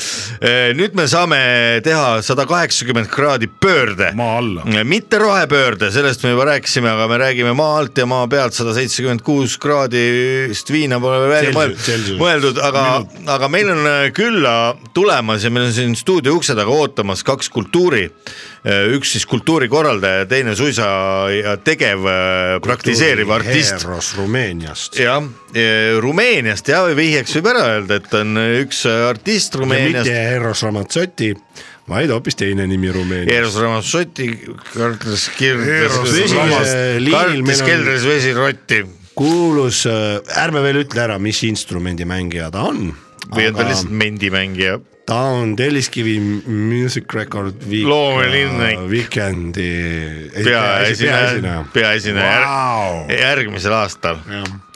D: nüüd me saame teha sada kaheksakümmend kraadi pöörde
F: maa alla .
D: mitte rohepöörde , sellest me juba rääkisime , aga me räägime maa alt ja maa pealt sada seitsekümmend kuus kraadist viina pole veel välja
E: Celsius-
D: mõeldud
E: Celsius. ,
D: mõeldud , aga , aga meil on äh, külla tulemas ja meil on siin stuudio ukse taga ootamas kaks kultuuri . üks siis kultuurikorraldaja , teine suisa ja tegev äh, praktiseeriv artist .
E: Heeros Rumeeniast .
D: jah , Rumeeniast ja vihjeks võib ära öelda , et on äh, üks artist
E: ja mitte
D: Rumeeniast .
E: Heeros Ramazzotti , vaid hoopis teine nimi Rumeeniast .
D: Eros Ramazzotti ,
F: Eros
D: Kartes Kirdes
E: Vesi- . liinil meil
D: kartis
E: on-
D: keldris vesi rotti
E: kuulus , ärme veel ütle ära , mis instrumendimängija ta on .
D: või on ta lihtsalt mendimängija ?
E: ta on Telliskivi Music Record äh, Week-
D: Loomelinnik.
E: Weekend'i
D: peaesineja , peaesineja
F: Vau!
D: järg, järgmisel aastal .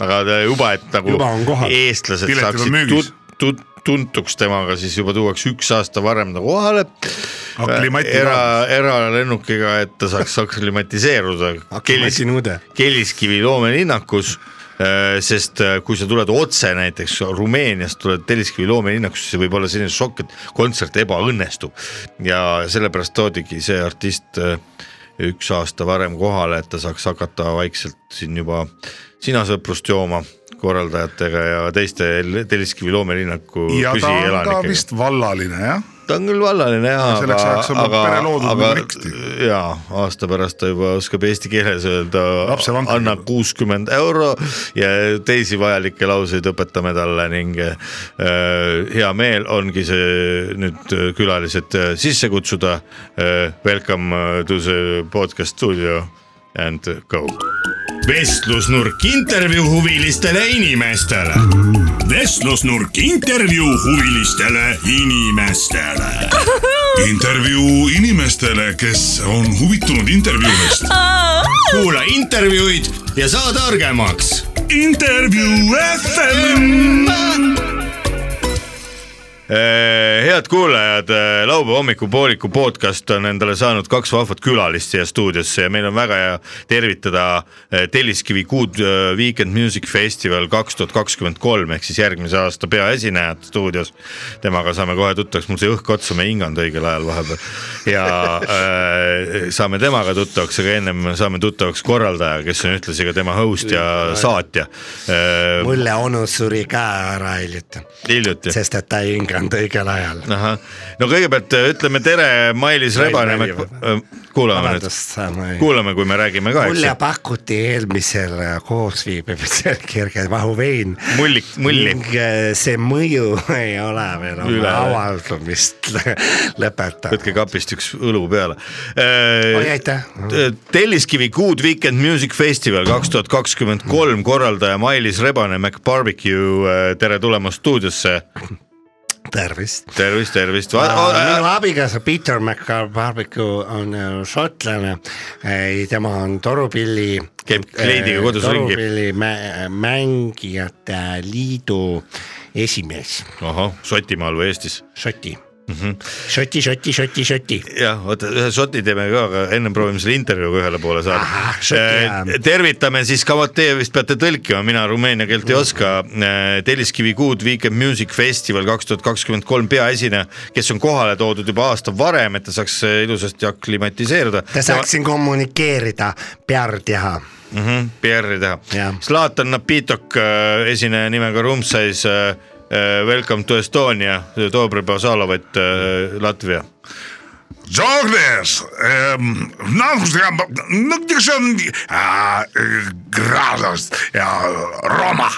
D: aga ta juba , et nagu
E: Juba on kohal.
D: eestlased
F: Piletid on
D: saaksid
F: müügis.
D: tut, tut, tuntuks temaga , siis juba tuuakse üks aasta varem ta kohale .
F: Aklimati
D: era , eralennukiga , et ta saaks aklimatiseeruda .
E: Aklimati nõude .
D: Telliskivi loomelinnakus , sest äh, kui sa tuled otse näiteks Rumeeniast , tuled Telliskivi loomelinnakusse , võib olla selline šokk , et kontsert ebaõnnestub ja sellepärast toodigi see artist äh, üks aasta varem kohale , et ta saaks hakata vaikselt siin juba sinasõprust jooma korraldajatega ja teiste Telliskivi loomelinnaku
F: ja ta on ka
D: püsielanikega .
F: vist vallaline jah ,
D: ta on küll vallaline ja
F: Selleks
D: aga
F: ajaks on ,
D: aga
F: pere , loodud
D: aga
F: nagu riksti.
D: ja aasta pärast ta juba oskab eesti keeles öelda ,
F: Lapsevankriga.
D: anna kuuskümmend euro ja teisi vajalikke lauseid õpetame talle ning äh, hea meel ongi see nüüd äh, külalised äh, sisse kutsuda äh, . Welcome to the podcast studio and go .
J: vestlusnurk intervjuu huvilistele inimestele . vestlusnurk intervjuu huvilistele inimestele .
B: intervjuu inimestele , kes on huvitunud intervjuudest .
J: kuula intervjuud ja saa targemaks .
B: intervjuu FM .
D: Äh, head kuulajad , laupäeva hommikupooliku podcast on endale saanud kaks vahvat külalist siia stuudiosse ja meil on väga hea tervitada eh, Telliskivi Good eh, Weekend Music Festival kaks tuhat kakskümmend kolm ehk siis järgmise aasta peaesinejad stuudios . temaga saame kohe tuttavaks , mul sai õhk otsa , ma ei hinganud õigel ajal vahepeal ja eh, saame temaga tuttavaks , aga ennem saame tuttavaks korraldaja , kes on ühtlasi ka tema host ja saatja . Äh,
K: mulle onu suri ka ära hiljuti ,
D: hiljuti .
K: sest et ta ei hinganud õigel ajal .
D: ahah , no kõigemäalt äh, ütleme tere , Mailis
K: Mailis
D: Rebanemäe
K: Välimäe. ,
D: kuulame nüüd ,
K: vabandust , ma ei .
D: kuulame , kui me räägime ka , eks
K: mulle
D: ju ,
K: pakuti eelmisel
E: äh,
K: koosviibimisel kerge vahuvein .
D: mullik , mulli ,
K: ning äh, see mõju ei ole veel
D: Üle.
K: oma avaldumist lõpetanud .
D: võtke kapist üks õlu peale .
K: oi , aitäh .
D: Telliskivi Good Weekend Music Festival kaks tuhat kakskümmend kolm korraldaja Mailis Rebanemäe , Barbecue , tere tulemast stuudiosse .
K: tervist .
D: tervist , tervist . äh,
K: minu abikaasa Peter McCarbarbicu on äh, šotlane , tema on torupilli .
D: Käib kleidiga kodus ringi.
K: torupilli mä- mängijate liidu esimees ,
D: ahah , Šotimaal või Eestis ?
K: Šoti .
D: Mhm.
K: Šoti , Šoti , Šoti , Šoti .
D: jah , oota ühe šoti teeme ka , aga ennem proovime selle intervjuuga ühele poole saada Äh,
K: Ahah, šoti, jah. .
D: tervitame siis ka , vot teie vist peate tõlkima , mina rumeenia keelt ei oska . Telliskivi Good Weekend Music Festival kaks tuhat kakskümmend kolm peaesineja , kes on kohale toodud juba aasta varem , et ta saaks eh, ilusasti aklimatiseeruda .
K: ta saaks siin kommunikeerida , PR teha
D: mm -hmm, PR-i teha
K: Jah. .
D: Zlatan Napitok , esineja nimega Rumsais , äh, äh, Welcome to Estonia , Dobre Basalovat , Latvia .
F: Joggers, ähm, Nahrungsprogramm, nutrition äh, äh, gradas ja Roma .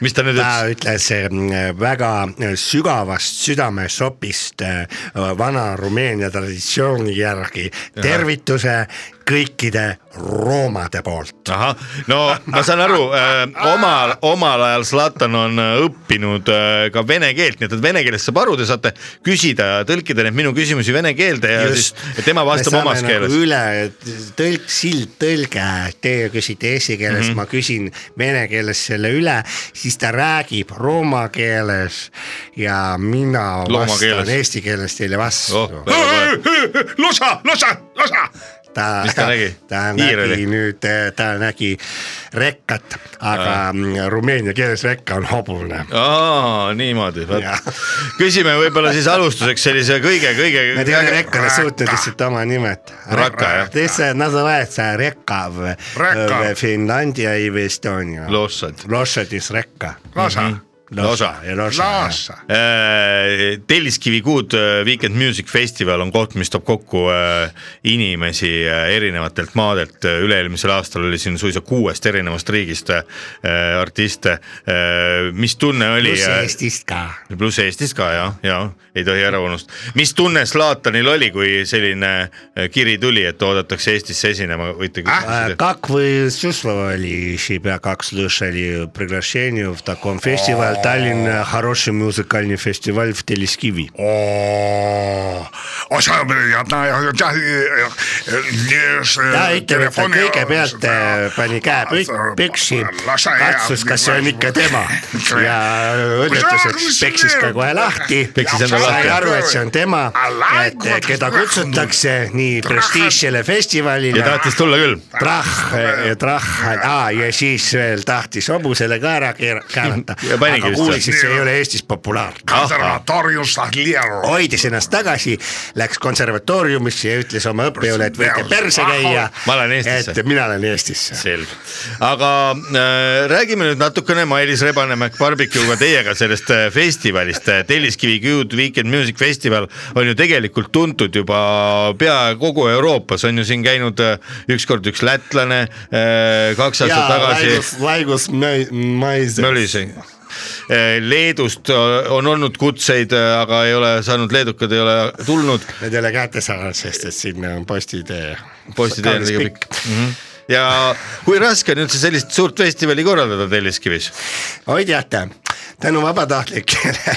D: mis ta nüüd
E: ta
D: ütles ?
E: ütles ähm, väga eh, sügavast südamesopist äh, vana Rumeenia traditsiooni järgi tervituse kõikide roomade poolt .
D: ahah , no ma saan aru äh, , omal , omal ajal Zlatan on äh, õppinud äh, ka vene keelt , nii et, et vene keelest saab aru , te saate küsida ja tõlkida neid minu küsimusi vene keelde ja Just.
E: Just.
D: siis tema vastab omas keeles nagu... .
E: nagu üle tõlk , sild , tõlge , teie küsite eesti keeles mm ,
D: Mhm.
E: -hmm. ma küsin vene keeles selle üle , siis ta räägib rooma keeles ja mina
D: Looma keeles.
E: vastan eesti keeles teile vastu
D: Oh, väga tore.
F: Losa , Losa , Losa .
E: ta ,
D: Mis ta nägi?
E: ta
D: Hiir oli?
E: nägi nüüd , ta nägi rekkat , aga mm, rumeenia keeles rekka on hobune .
D: aa , niimoodi ,
E: Jah.
D: vot . küsime võib-olla siis alustuseks sellise kõige-kõige .
E: Nad ei ole rekkale suutnud lihtsalt oma nimet .
D: Rakka, jah.
E: Teise называется rekka v-
F: Rekka.
E: v- eh, Finlandia ja Estonia .
D: Lossad.
E: Lossadis rekka .
D: Mhm.
F: Losa ,
D: Losa.
E: ja lossa .
F: Losa .
D: Telliskivi kuud äh, Weekend Music Festival on koht , mis toob kokku äh, inimesi äh, erinevatelt maadelt , üle-eelmisel aastal oli siin suisa kuuest erinevast riigist äh, artiste . mis tunne oli ? äh,
E: pluss Eestist ka .
D: pluss Eestist ka jah , ja ei tohi ära unustada . mis tunne Zlatanil oli , kui selline äh, kiri tuli , et oodatakse Eestisse esinema , võite küsida .
E: Как вы чувствовали себя, как слышали приглашение в таком фестивале? Таллин э, хороший музыкальный фестиваль в Телескиви.
F: osa ja , ja , ε, Э,
E: ta ütleb , et ta kõigepealt äh, pani käe pük- püksi ,
F: ε,
E: katsus , kas see on ikka tema ja õnnetuseks peksis ka kohe lahti .
D: Peksis enda lahti.
E: sai aru , et see on tema , et äh, keda kutsutakse nii prestiižsele
D: ja
E: festivalile .
D: tahtis tulla küll .
E: trahh , trahh , aa ja siis veel tahtis hobusele ka ära keera- keerata ,
D: Ja panigi
E: aga
D: vist
E: kuulis , et see
F: või?
E: ei ole Eestis populaarne .
F: konservatoorium Sahlieru .
E: hoidis ennast tagasi , läks konservatooriumisse ja ütles oma õppejõule , et võite perse käia .
D: Ma lähen Eestisse.
E: et mina lähen Eestisse .
D: selge , aga äh, räägime nüüd natukene Mailis Rebanemäe barbecue'ga teiega sellest äh, festivalist . Telliskivi Good Weekend Music Festival on ju tegelikult tuntud juba pea kogu Euroopas on ju siin käinud äh, ükskord üks lätlane äh, kaks aastat tagasi .
E: Laigus Mais .
D: Mölise . Leedust äh, on olnud kutseid , aga ei ole saanud , leedukad ei ole tulnud
E: Need ei ole kätte saanud , sest et sinna on postitee .
D: postiteel liiga pikk . ja kui raske on üldse sellist suurt festivali korraldada Telliskivis ?.
E: oi teate , tänu vabatahtlikele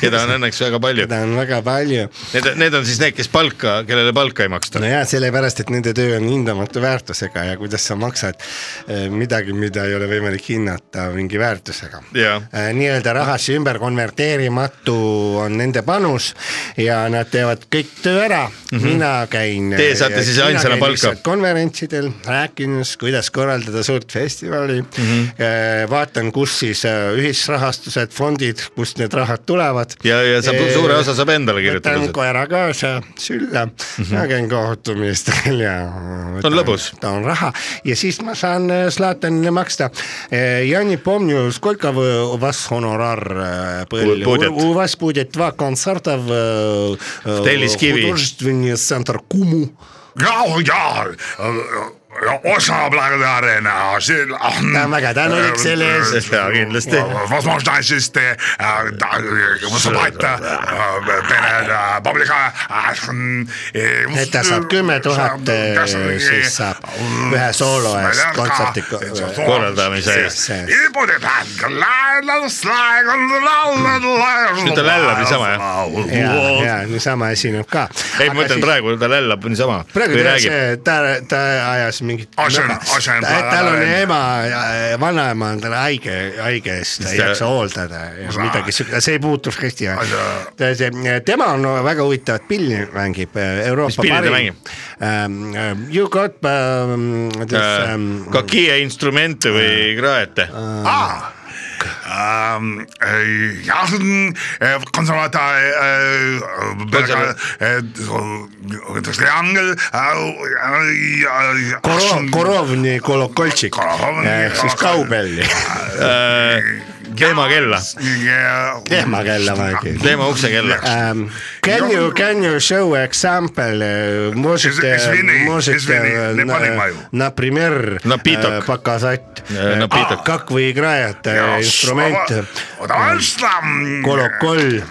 D: keda on õnneks väga palju .
E: keda on väga palju .
D: Need , need on siis need , kes palka , kellele palka ei maksta
E: no . ja sellepärast , et nende töö on hindamatu väärtusega ja kuidas sa maksad eh, midagi , mida ei ole võimalik hinnata mingi väärtusega .
D: Jah.
E: nii-öelda rahasse ümber konverteerimatu on nende panus ja nad teevad kõik töö ära mm , -hmm. mina käin .
D: Mhm.
E: eh,
D: Teie saate siis ainsana palka.
E: konverentsidel rääkimas , kuidas korraldada suurt festivali mm .
D: Mhm.
E: -hmm. vaatan , kus siis eh, ühisrahastused , fondid , kust need rahad tulevad .
D: ja , ja saab
E: Eh,
D: suure osa saab endale
E: võtan
D: kirjutada .
E: koera kaasa sülle mm , -hmm. ma käin kohtumistel ja .
D: Mhm. On lõbus.
E: toon raha ja siis ma saan äh, Zlatanile maksta . Äh, ja nii pomnju , skolka võ- u vas honorar äh, põl-
D: Будет.
E: u- u vas budjet dva kontsarta v .
D: Telliskivi.
E: tsenter Kumu .
F: ja , ja , osa Blagadare , see .
E: ta on väga
F: äh,
E: tänulik selle eest .
D: jaa , kindlasti .
F: возможностiste äh, da- äh, выступать äh, перед äh, публика äh,
E: et ta saab kümme tuhat , siis saab ühe soolo eest kontserti ko-
D: korraldamise eest.
E: sees.
D: Nüüd ta lällab niisama, jah?
E: ja , ja niisama esineb ka .
D: ei , ma ütlen . praegu ta lällab niisama .
E: praegu
D: või
E: ta
D: räägib . äh,
E: see , ta , ta ajas mingit .
F: Asen- asen-
E: tal oli ema , vanaema on tal haige , haige , siis ta ei
D: ta-
E: jaksa hooldada ja midagi siukest , see ei puutu hästi . tema on väga huvitavat pilli mängib ,
D: Mis
E: Euroopa
D: pilli ta
E: parim Ähm, äh,
D: mängib? .
E: You got um,
D: Äh,
E: this um,
D: Kakie instrumente või
E: Äh,
D: kraete ?
F: Ah. Um, jah , Eh, konservatiiv , triangel . Oh,
E: Koro- , Korovni kolokoltšik
F: Korovni
E: ehk siis
F: kolokol-
D: Äh,
E: kaubelli .
D: teemakella ,
E: kehmakella ma ikka .
D: teema uksekella .
E: Um, can you can you show example э, можете
F: Извини,
E: можете
F: извини,
E: э,
F: не
E: на-
F: понимаю.
E: например
D: Напиток.
E: э, показать
D: Э,
E: э,
D: напиток.
E: а, как вы играете э, инструмент э, колоколь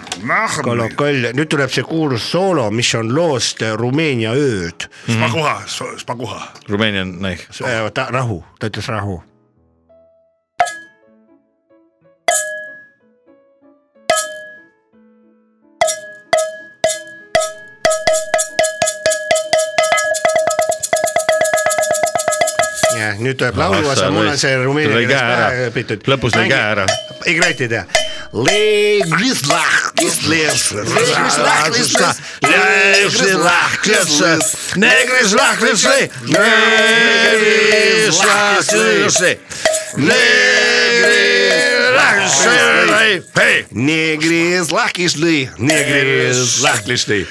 E: kolokall , nüüd tuleb see kuulus soolo , mis on loost äh, Rumeenia ööd ,
F: Spaguha , spaguha .
D: Rumeenia naih .
E: Äh, ta rahu , ta ütles rahu . ja nüüd tuleb lauluosa , mul on see rumeenia
D: lõi
E: keeles
D: käe
E: pähe
D: ära
E: õpitud .,
D: lõpus lõi käe ära .
E: играйте это. Лей гризлах, гризлес, лей гризлах, гризлес, лей гризлах, гризлес, лей гризлах, гризлес, лей гризлах, гризлес, лей гризлах, гризлес, не гризлах, гризлес, не гризлах, гризлес,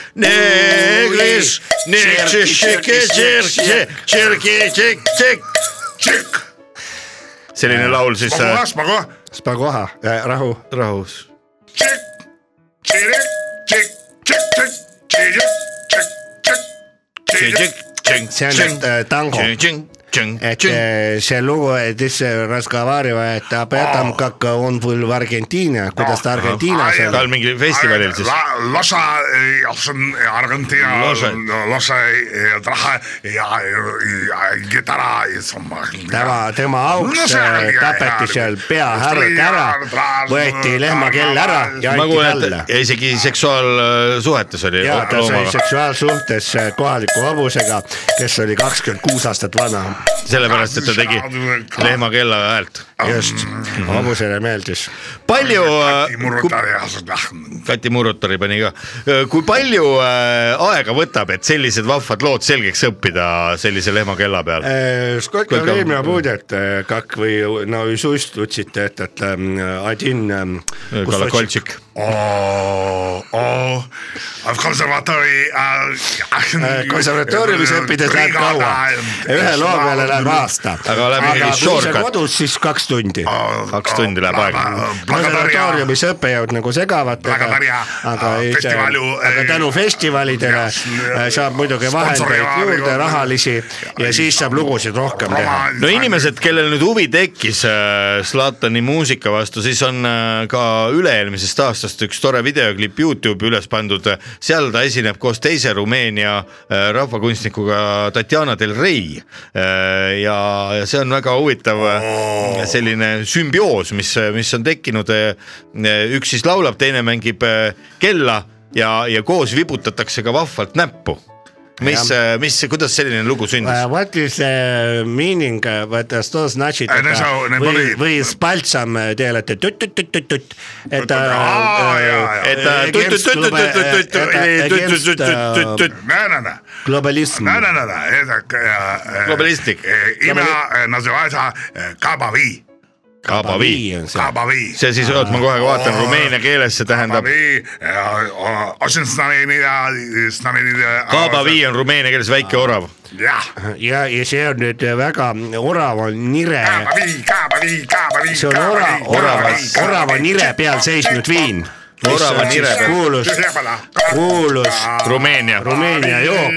E: не гриз, не гризлах,
D: selline laul siis äh,
F: spaguha , spaguha .
E: Спагоха, раху.
D: rahus .
E: See on just, äh, tango. et äh, see lugu , et siis Raskovariva , et ta peatab oh. kaka on võl Argentiina , kuidas ta Argentiinas
D: ta
E: on .
D: on mingi festivalil siis .
F: Losa , eh, Argentina ,
D: Losa.
F: Losa , Traha ja , ja Gitara .
E: tema , tema auks äh, tapeti seal pea härg ära , võeti lehmakell ära ja
D: ma
E: anti
D: kuulen ,
E: talle .
D: et isegi seksuaalsuhetes oli
E: ja ta sai
D: loomaga ,
E: seksuaalsuhtes äh, kohaliku hobusega , kes oli kakskümmend kuus aastat vana .
D: sellepärast et ta tegi lehmakella häält .
E: just , hobusele meeldis .
D: palju , Kati Murutari pani ka , kui palju äh, aega võtab , et sellised vahvad lood selgeks õppida sellise lehmakella peal ?
E: Äh, Сколько
D: Сколько-
E: время будет, э, как вы наизусть учите этот эм, один эм,
D: Äh,
E: кусочек
D: kalakoltšik ,
F: konservatoori .
E: Eh, E, konservatooriumis õppides läheb kaua , ühe loo peale läheb . aasta .
D: Aga läheb mingi shortcut.
E: kodus siis kaks tundi .
D: kaks tundi läheb aega .
E: konservatooriumis õppejõud nagu segavad , aga
F: Plagatarja, ,
E: aga
F: äh,
E: ei see ,
F: festivalu,
E: aga
F: äh,
E: tänu festivalidele
F: jah,
E: äh, saab muidugi vahendeid
F: sponsoreaali
E: juurde ,
F: on-
E: rahalisi ja siis saab lugusid rohkem teha .
D: no inimesed , kellel nüüd huvi tekkis äh, Zlatani muusika vastu , siis on äh, ka üle-eelmisest aastast üks tore videoklipp Youtube'i üles pandud , seal ta esineb koos teise Rumeenia äh, rahvakunstnikuga Tatjana del Rey . ja , ja see on väga huvitav oh. selline sümbioos , mis , mis on tekkinud , üks siis laulab , teine mängib äh, kella ja , ja koos vibutatakse ka vahvalt näppu . mis , mis , kuidas selline lugu sündis ?
E: Э, What is the meaning , what does to значит
F: Э, нашел,
E: это,
F: на
E: вы,
F: были-
E: вы с пальцем э, делаете тут-тут-тут-тут-тут, это
F: А, я-
E: э,
D: Это
E: э, агентство, э, это агентство
F: näe-näe-näe ,
E: глобализм.
F: E, näe-näe-näe .
D: Globalistlik.
F: e, imja называется kabavi ,
D: Kabavi ,
E: on see.
F: kabavi .
D: see siis , oot ma kohe vaatan rumeenia keeles , see tähendab ,
F: Kabavi , osin snamenida , snamenida .
D: kabavi on rumeenia keeles väike orav .
F: jah ,
E: ja , ja see on nüüd väga orav on nire ,
F: kabavi , kabavi , kabavi .
E: see on ora- , orava , orava nire peal seisnud viin .
D: Orava nire peal.
E: kuulus , kuulus
D: Rumeenia .
E: Rumeenia jook ,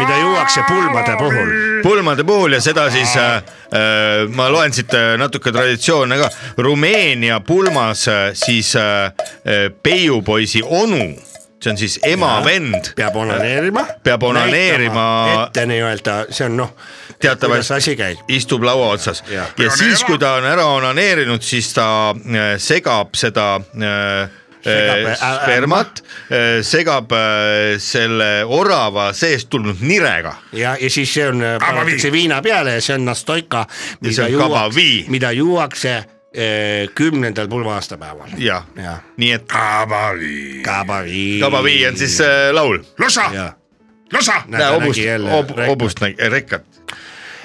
E: mida juuakse pulmade puhul .
D: pulmade puhul ja seda siis äh, äh, ma loen siit äh, natuke traditsioone ka , Rumeenia pulmas äh, siis äh, äh, peiupoisi onu , see on siis ema vend ,
E: peab onaneerima .
D: Peab onaneerima-
E: ette nii-öelda , see on noh , kuidas asi
D: teatavasti
E: käib .
D: istub laua otsas ja,
E: Jah.
D: ja siis , kui ta on ära onaneerinud , siis ta äh, segab seda äh,
E: Segab,
D: äh,
E: äh, äh,
D: spermat , segab äh, selle orava seest tulnud nirega .
E: ja , ja siis see on , pannakse viina peale ja see on nastoika ,
D: see
E: mida
D: on
E: juuakse
D: kabavi. ,
E: mida juuakse eh, kümnendal pulma-aastapäeval .
D: jah ja.
E: jah ,
D: nii et
F: kabavi .
E: kabavi .
D: Kabavi on siis äh, laul .
F: Losa ,
E: jah ,
F: losa .
D: näe hobust ,
E: rekat.
D: hobust nägi , rekkat .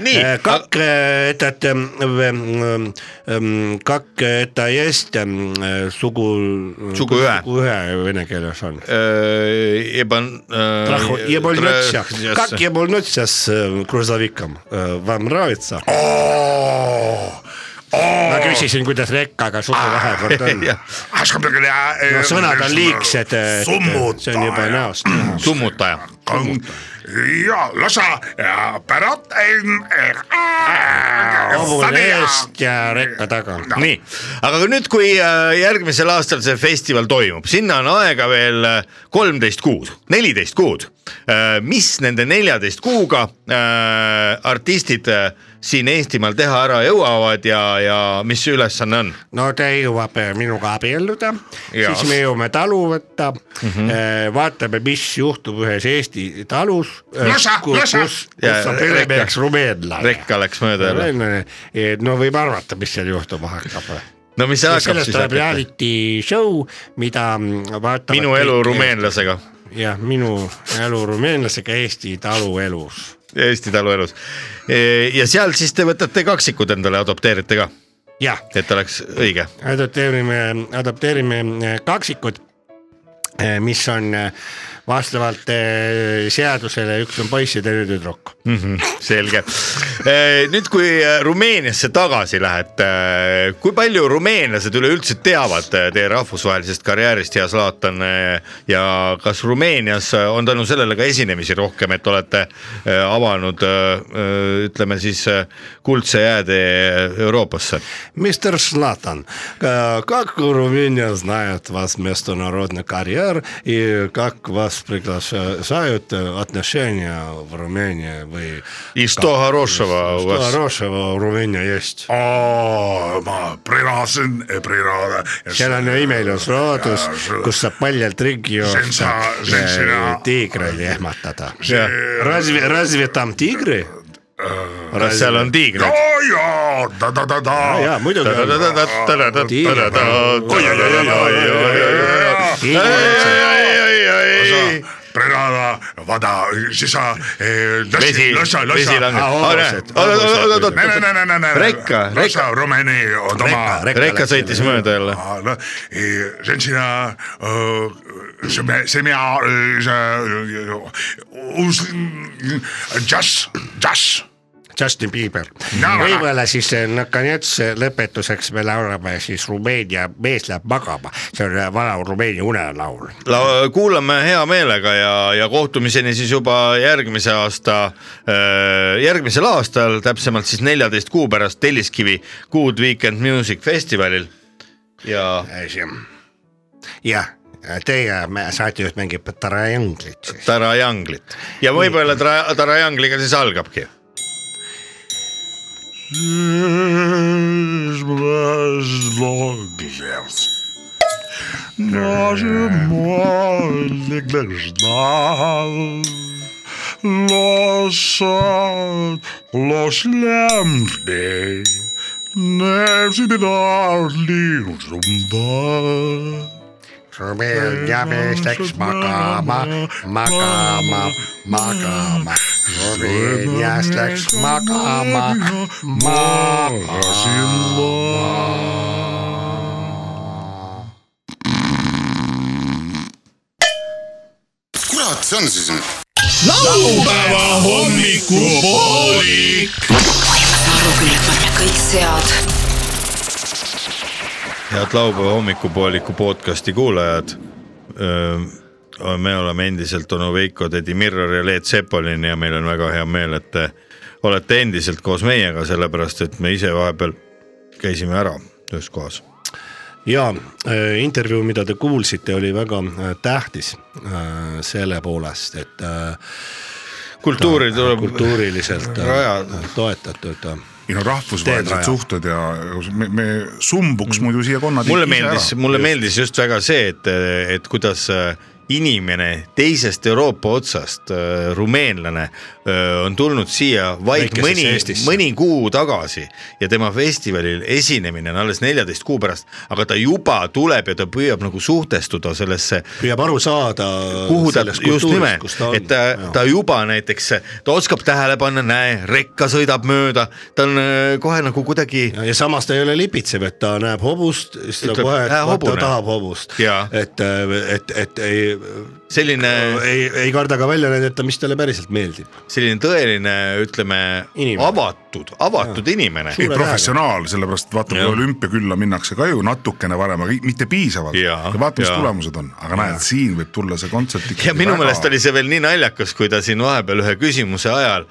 D: nii ,
E: как э, этот эм, эм, эм, как это есть эм, э, сугу
D: Suguühe.
E: сугуэ вене keeles on
D: äh, Eban .
E: Траху-
D: Э,
E: ебольнуться. как ебольнуться с э, грузовиком Э, вам нравится
F: Oh,
E: ma küsisin , kuidas rekkaga suhe vahekord on .
F: äh,
E: no sõnad on liigsed , et äh, see on juba
F: summutaja ,
E: näost näha .
D: summutaja .
F: ja lasa ja pärat . äh,
E: hobune eest ja rekka taga .
D: nii , aga kui nüüd , kui äh, järgmisel aastal see festival toimub , sinna on aega veel äh, kolmteist kuud , neliteist kuud . mis nende neljateist kuuga äh, artistid äh, siin Eestimaal teha ära jõuavad ja , ja mis see ülesanne on ?
E: no ta jõuab minuga abielluda ,
D: Jaa.
E: siis me jõuame talu võtta mm , -hmm. vaatame , mis juhtub ühes Eesti talus .
F: Lasa, lasa!
D: Ja
E: kus on peremeheks rumeenlane .
D: rekka läks mööda jälle .
E: no võime arvata , mis seal juhtuma hakkab .
D: no mis see hakkab
E: sellest
D: siis
E: tuleb
D: hakkama ?
E: reality show , mida vaatavad .
D: minu elu . rumeenlasega ,
E: jah , minu elu rumeenlasega Eesti talu elus .
D: Eesti taluelus . ja seal siis te võtate kaksikud endale , adopteerite ka ,
E: jah
D: et oleks õige .
E: adopteerime , adopteerime eh, kaksikud , mis on eh, vastavalt eh, seadusele , üks on poiss ja teine tüdruk .
D: Mhm, selge . nüüd , kui e, Rumeeniasse tagasi lähed , kui palju rumeenlased üleüldse teavad e, teie rahvusvahelisest karjäärist , hea Zlatan e, ja kas Rumeenias on tänu sellele ka esinemisi rohkem , et olete e, avanud e, ütleme siis e, kuldse jäätee Euroopasse ?
L: Мистер Шлатан, как Румыния знает вас международный карьер и как вас приглашают э, отношения в Румынии? Вы
D: И что хорошего у
L: Что
D: вас? А,
L: хорошего в Румынии есть?
F: Oh, ma äh, prirasen , priraada .
E: selline
D: э,
E: imelus loodus , kus saab paljalt ringi
F: See on
E: joosta
F: sa-
D: а,
F: see on sina-
L: Э,
E: ja tiigreid ehmatada . Разве , разве там тигры ?
D: kas seal on tiigrid ?
F: ja , ja
D: А,
F: ta-ta-ta-ta .
E: jaa , muidugi on .
F: priraada , vada , siis sa .
D: vesi , vesi langeb . Rekka,
F: rekka . Rumeni on oma .
D: rekka sõitis mööda jälle .
F: Alla. I sen siinä, ö, se, me, se minä, ö, se, ö, uusi, jazz, jazz.
E: Justin Bieber
F: No.
E: no. . võib-olla siis eh, nakkonets lõpetuseks me laulame siis Rumeenia mees läheb magama , see on eh, vana Rumeenia unelaul .
D: kuulame hea meelega ja , ja kohtumiseni siis juba järgmise aasta , järgmisel aastal , täpsemalt siis neljateist kuu pärast Telliskivi Good Weekend Music Festivalil . ja
E: jah , eh, teie mä- saatejuht mängib trianglit siis .
D: Tarajanglit ja võib-olla Tara- , Tarajangliga siis algabki .
F: Даже молодых ждал Лошад, лошадь лембей Не всегда лил зумба
E: Rumeenia mees läks magama , magama , magama . Rumeenias läks magama , magama .
M: kurat see on siis nüüd ?
N: laupäeva hommikupoolik .
H: ma saan aru küll , et panna kõik sead
D: head laupäeva hommikupooliku podcasti kuulajad . me oleme endiselt onu Veiko , Teddy Mirror ja Leet Sepolin ja meil on väga hea meel , et te olete endiselt koos meiega , sellepärast et me ise vahepeal käisime ära ühes kohas .
L: ja äh, intervjuu , mida te kuulsite , oli väga äh, tähtis äh, selle poolest , et äh,
D: kultuuri tuleb
L: kultuuriliselt äh,
D: rajada .
L: toetatud äh,
F: ei no rahvusvahelised
L: Teedraja.
F: suhted ja me, me sumbuks muidu siia konnad
D: Mm. mulle meeldis , mulle meeldis just väga see , et , et kuidas äh, inimene teisest Euroopa otsast , rumeenlane , on tulnud siia vaid
L: Väikesesse
D: mõni ,
L: Eestisse.
D: mõni kuu tagasi ja tema festivalil esinemine on alles neljateist kuu pärast , aga ta juba tuleb ja ta püüab nagu suhtestuda sellesse
L: püüab aru saada .
D: kuhu ta just nimelt , et ta , ta juba näiteks , ta oskab tähele panna , näe , rekka sõidab mööda , ta on äh, kohe nagu kuidagi
L: ja, ja samas ta ei ole lipitsev , et ta näeb hobust , siis ta
D: Ütleb,
L: kohe , et
D: "Äh,
L: vaat ta
D: hobune."
L: tahab hobust äh,
D: Jaa. .
L: et , et , et ei
D: selline ,
E: ei , ei karda ka välja näidata , mis talle päriselt meeldib .
D: selline tõeline , ütleme
E: Inimene.
D: avatud , avatud inimene .
F: ei professionaal , sellepärast et vaata , kui olümpiakülla minnakse ka ju natukene varem , aga mitte piisavalt . ja
D: Jaa,
F: vaata , mis
D: jaa.
F: tulemused on , aga näed , siin võib tulla see kontsert ikkagi
D: ja minu meelest oli see veel nii naljakas , kui ta siin vahepeal ühe küsimuse ajal ,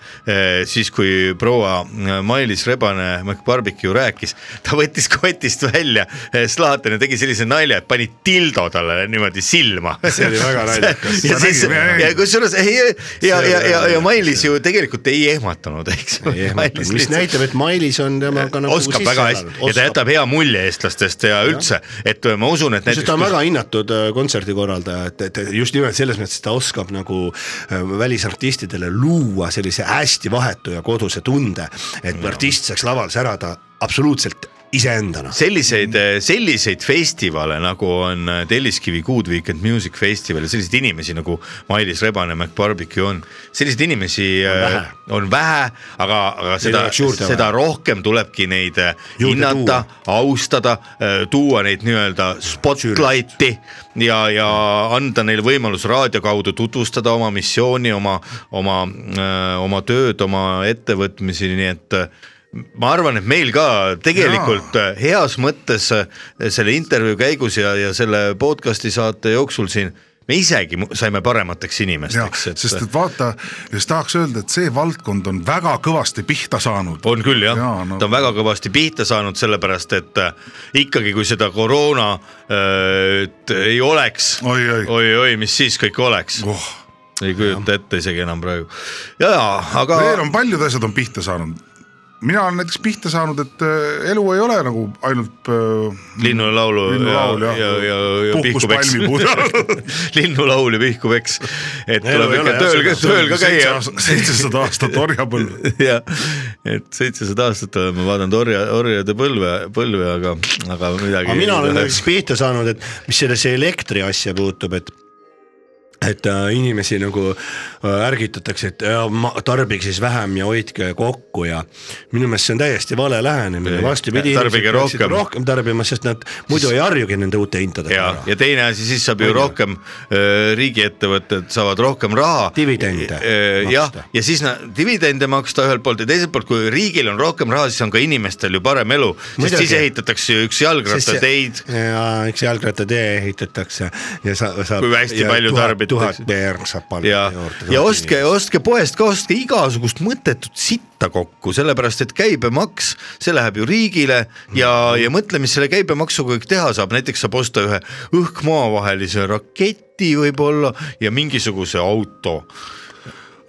D: siis kui proua eh, Mailis Rebane McBarbecue rääkis , ta võttis kotist välja eh, Zlatan ja tegi sellise nalja , et pani tildo talle niimoodi silma . see
E: oli väga naljakas.
D: ja
F: Ma
D: siis
F: nägin, ma nägin. ,
D: ja kusjuures ei , ja , ja , ja , ja
E: naljakas,
D: Mailis ju tegelikult ei ehmatanud , eks .
E: mis näitab , et Mailis on temaga nagu
D: oskab väga hästi ja ta jätab hea mulje eestlastest ja üldse , et äh, ma usun , et
E: sest ta on
D: näiteks
E: väga hinnatud äh, kontserdikorraldaja , et , et just nimelt selles mõttes , et ta oskab nagu äh, välisartistidele luua sellise hästi vahetu ja koduse tunde , et artist saaks laval särada absoluutselt iseendana .
D: selliseid , selliseid festivale nagu on Telliskivi Good Weekend Music Festival ja selliseid inimesi nagu Mailis Rebane , McBarbecue on , selliseid inimesi on
E: vähe.
D: vähe, on vähe , aga , aga seda ,
E: oleks juurde
D: seda rohkem tulebki neid äh,
E: Juurde
D: hinnata , austada , tuua neid nii-öelda spotlighti ja , ja anda neile võimalus raadio kaudu tutvustada oma missiooni , oma , oma , oma tööd , oma ettevõtmisi , nii et äh, ma arvan , et meil ka tegelikult äh, heas mõttes äh, selle intervjuu käigus ja , ja selle podcast'i saate jooksul siin me isegi mu- saime paremateks
F: jah ,
D: inimesteks , et
F: sest et vaata , just tahaks öelda , et see valdkond on väga kõvasti pihta saanud .
D: on küll jah
F: Jaa,
D: ja, ,
F: no-
D: no. ta on väga kõvasti pihta saanud , sellepärast et äh, ikkagi , kui seda koroona äh, et ei oleks
F: Oi, oi.
D: oi-oi , mis siis kõik oleks ,
F: oh ,
D: ei kujuta ette isegi enam praegu ja , ja aga
F: veel on paljud asjad on pihta saanud . mina olen näiteks pihta saanud , et äh, elu ei ole nagu ainult äh,
D: linnulaulu
F: linnulaul
D: ja ,
F: jah
D: ja , ja , ja
F: puhkus
D: pihkupeks
F: palmipuud .
D: linnulaul ja pihkupeks , et
E: Ei,
D: tuleb
E: ei
D: ikka
E: ole, jah,
D: tööl ka , tööl ka käia .
F: seitsesada aastat orjapõlve .
D: ja et seitsesada aastat olen ma vaadanud orja , orjade põlve , põlve , aga , aga midagi .
E: aga mina olen näiteks pihta saanud , et mis sellesse elektri asja puutub , et et äh, inimesi nagu äh, ärgitatakse , et äh, ma- tarbiks siis vähem ja hoidke kokku ja minu meelest see on täiesti vale lähenemine ,
D: Ei,
E: vastupidi .
D: tarbige rohkem.
E: rohkem tarbima , sest nad muidu ei harjugi nende uute hindadega
D: ja , ja teine asi , siis saab ju rohkem , riigiettevõtted saavad rohkem raha .
E: Dividende
D: jah
E: maksta. ,
D: ja siis na- dividende maksta ühelt poolt ja teiselt poolt , kui riigil on rohkem raha , siis on ka inimestel ju parem elu , sest
E: Muidugi.
D: siis ehitatakse ju üks jalgrattateid .
E: ja üks jalgrattatee ehitatakse ja sa, saab .
D: Kui hästi palju tarbitakse.
E: tuhat PR saab
D: ja
E: palgata juurde .,
D: ja ostke , ostke poest ka , ostke igasugust mõttetut sitta kokku , sellepärast et käibemaks , see läheb ju riigile
E: Mhm.
D: ja , ja mõtle , mis selle käibemaksuga kõik teha saab , näiteks saab osta ühe õhk-maavahelise raketi võib-olla ja mingisuguse auto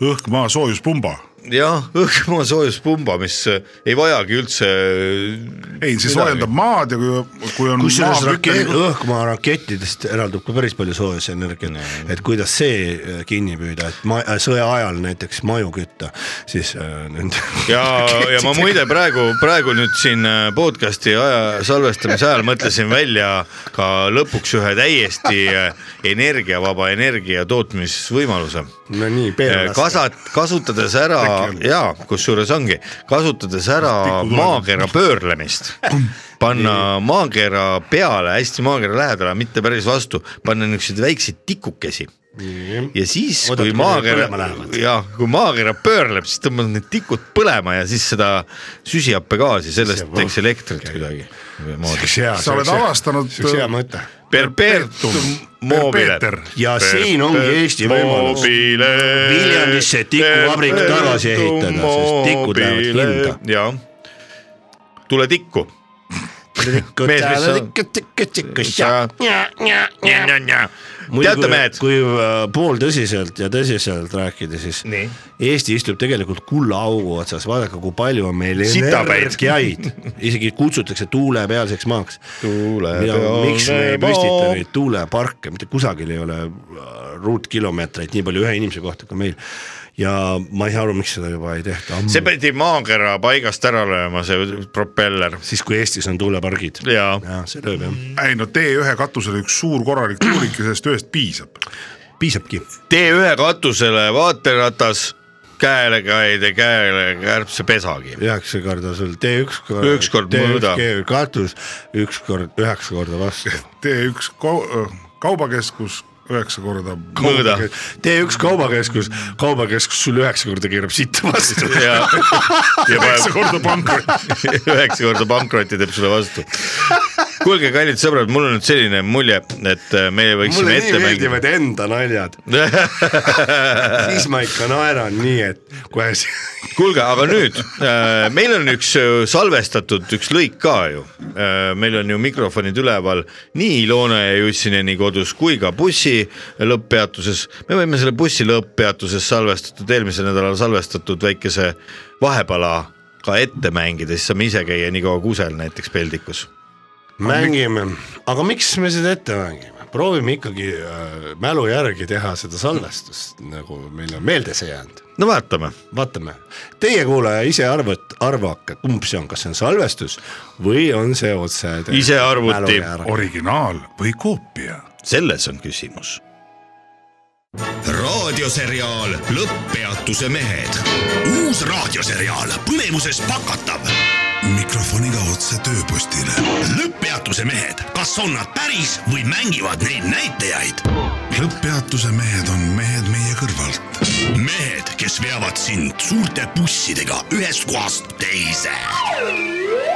F: õhk-maa soojuspumba .
D: jah , õhkmaa soojuspumba , mis äh, ei vajagi üldse . äh,
F: ei , see soojendab . maad ja kui , kui on .
E: kusjuures rakett , õhkmaa rakettidest eraldub ka päris palju soojusenergiat , et kuidas see äh, kinni püüda , et ma äh, sõja ajal näiteks maju kütta , siis äh, nende .
D: ja , ja ma muide praegu , praegu nüüd siin äh, podcast'i aja salvestamise ajal mõtlesin välja ka lõpuks ühe täiesti äh, energiavaba energia tootmisvõimaluse .
E: no
D: Äh,
E: nii , peale .
D: kasat- , kasutades ära ja kusjuures ongi , kasutades ära maakera pöörlemist , panna maakera peale hästi maakera lähedale , mitte päris vastu , panna niisuguseid väikseid tikukesi ja siis ,
E: Oodata,
D: kui
E: kuni nad
D: maakera
E: põlema lähevad. ,
D: ja kui maakera pöörleb , siis tõmbad need tikud põlema ja siis seda süsihappegaasi , sellest teeks elektrit kuidagi .
F: sa oled avastanud äh,
E: üks hea mõte .
D: Perpetuum mobile .
F: Perpeeter.
E: ja siin ongi Eesti võimalus Viljandisse tikuvabrik tagasi ehitada, sest tikud lähevad hinda. .
D: jaa , tule tikku . Mees, mis sa- teate , mehed ,
E: kui äh, pooltõsiselt ja tõsiselt rääkida , siis
D: Nii.
E: Eesti istub tegelikult kullaaugu otsas , vaadake , kui palju on meil
D: Sitapäid.
E: energiaid , isegi kutsutakse tuulepealseks maaks .
D: pealne
E: miks me ei püstita
D: maa.
E: neid tuuleparke , mitte kusagil ei ole äh, ruutkilomeetreid nii palju ühe inimese kohta kui meil . ja ma ei saa aru , miks seda juba ei tehta
D: see
E: ammu ,
D: pidi maakera paigast ära lööma , see propeller
E: siis kui Eestis on tuulepargid .
D: jaa
E: jah , see lööb jah ,
F: ei no tee ühe katusele üks suur korralik tuulik ja sellest ühest piisab .
E: piisabki .
D: tee ühe katusele vaateratas , käele käide , käele kärbsepesagi .
E: üheksa korda sul , tee üks kord .
D: Üks kord mõõda.
E: katus , üks kord , üheksa korda vastu .
F: tee üks kau- , kaubakeskus , üheksa korda .
D: mõõda .
E: tee üks kaubakeskus , kaubakeskus sulle üheksa korda keerab sitta vastu .
D: ja , ja
F: üheksa
D: paneb
F: korda pankrot .
D: üheksa korda pankrotti teeb sulle vastu . kuulge , kallid sõbrad , mul on nüüd selline mulje , et äh, me võiksime
E: mulle nii
D: ette mängida .
E: meeldivad enda naljad , siis ma ikka naeran nii , et kohe see-
D: kuulge , aga nüüd äh, meil on üks äh, salvestatud üks lõik ka ju äh,. meil on ju mikrofonid üleval nii Ilona ja Jussineni kodus kui ka bussi lõpppeatuses . me võime selle bussi lõpppeatuses salvestatud , eelmisel nädalal salvestatud väikese vahepala ka ette mängida , siis saame ise käia nii kaua kusel näiteks peldikus .
E: mängime , aga miks me seda ette mängime , proovime ikkagi äh, mälu järgi teha seda salvestust , nagu meil on meelde see jäänud .
D: no vaatame ,
E: vaatame , teie kuulaja ise arvat- , arvake , kumb see on , kas see on salvestus või on see otse .
D: Ise arvuti.
F: originaal või koopia ?
D: selles on küsimus .
J: raadioseriaal Lõpppeatuse mehed .
O: uus raadioseriaal põnevuses pakatav . mikrofoniga otse tööpostile . lõpppeatuse mehed , kas on nad päris või mängivad neid näitajaid ?
G: lõpppeatuse mehed on mehed meie kõrvalt .
O: mehed , kes veavad sind suurte bussidega ühest kohast teise .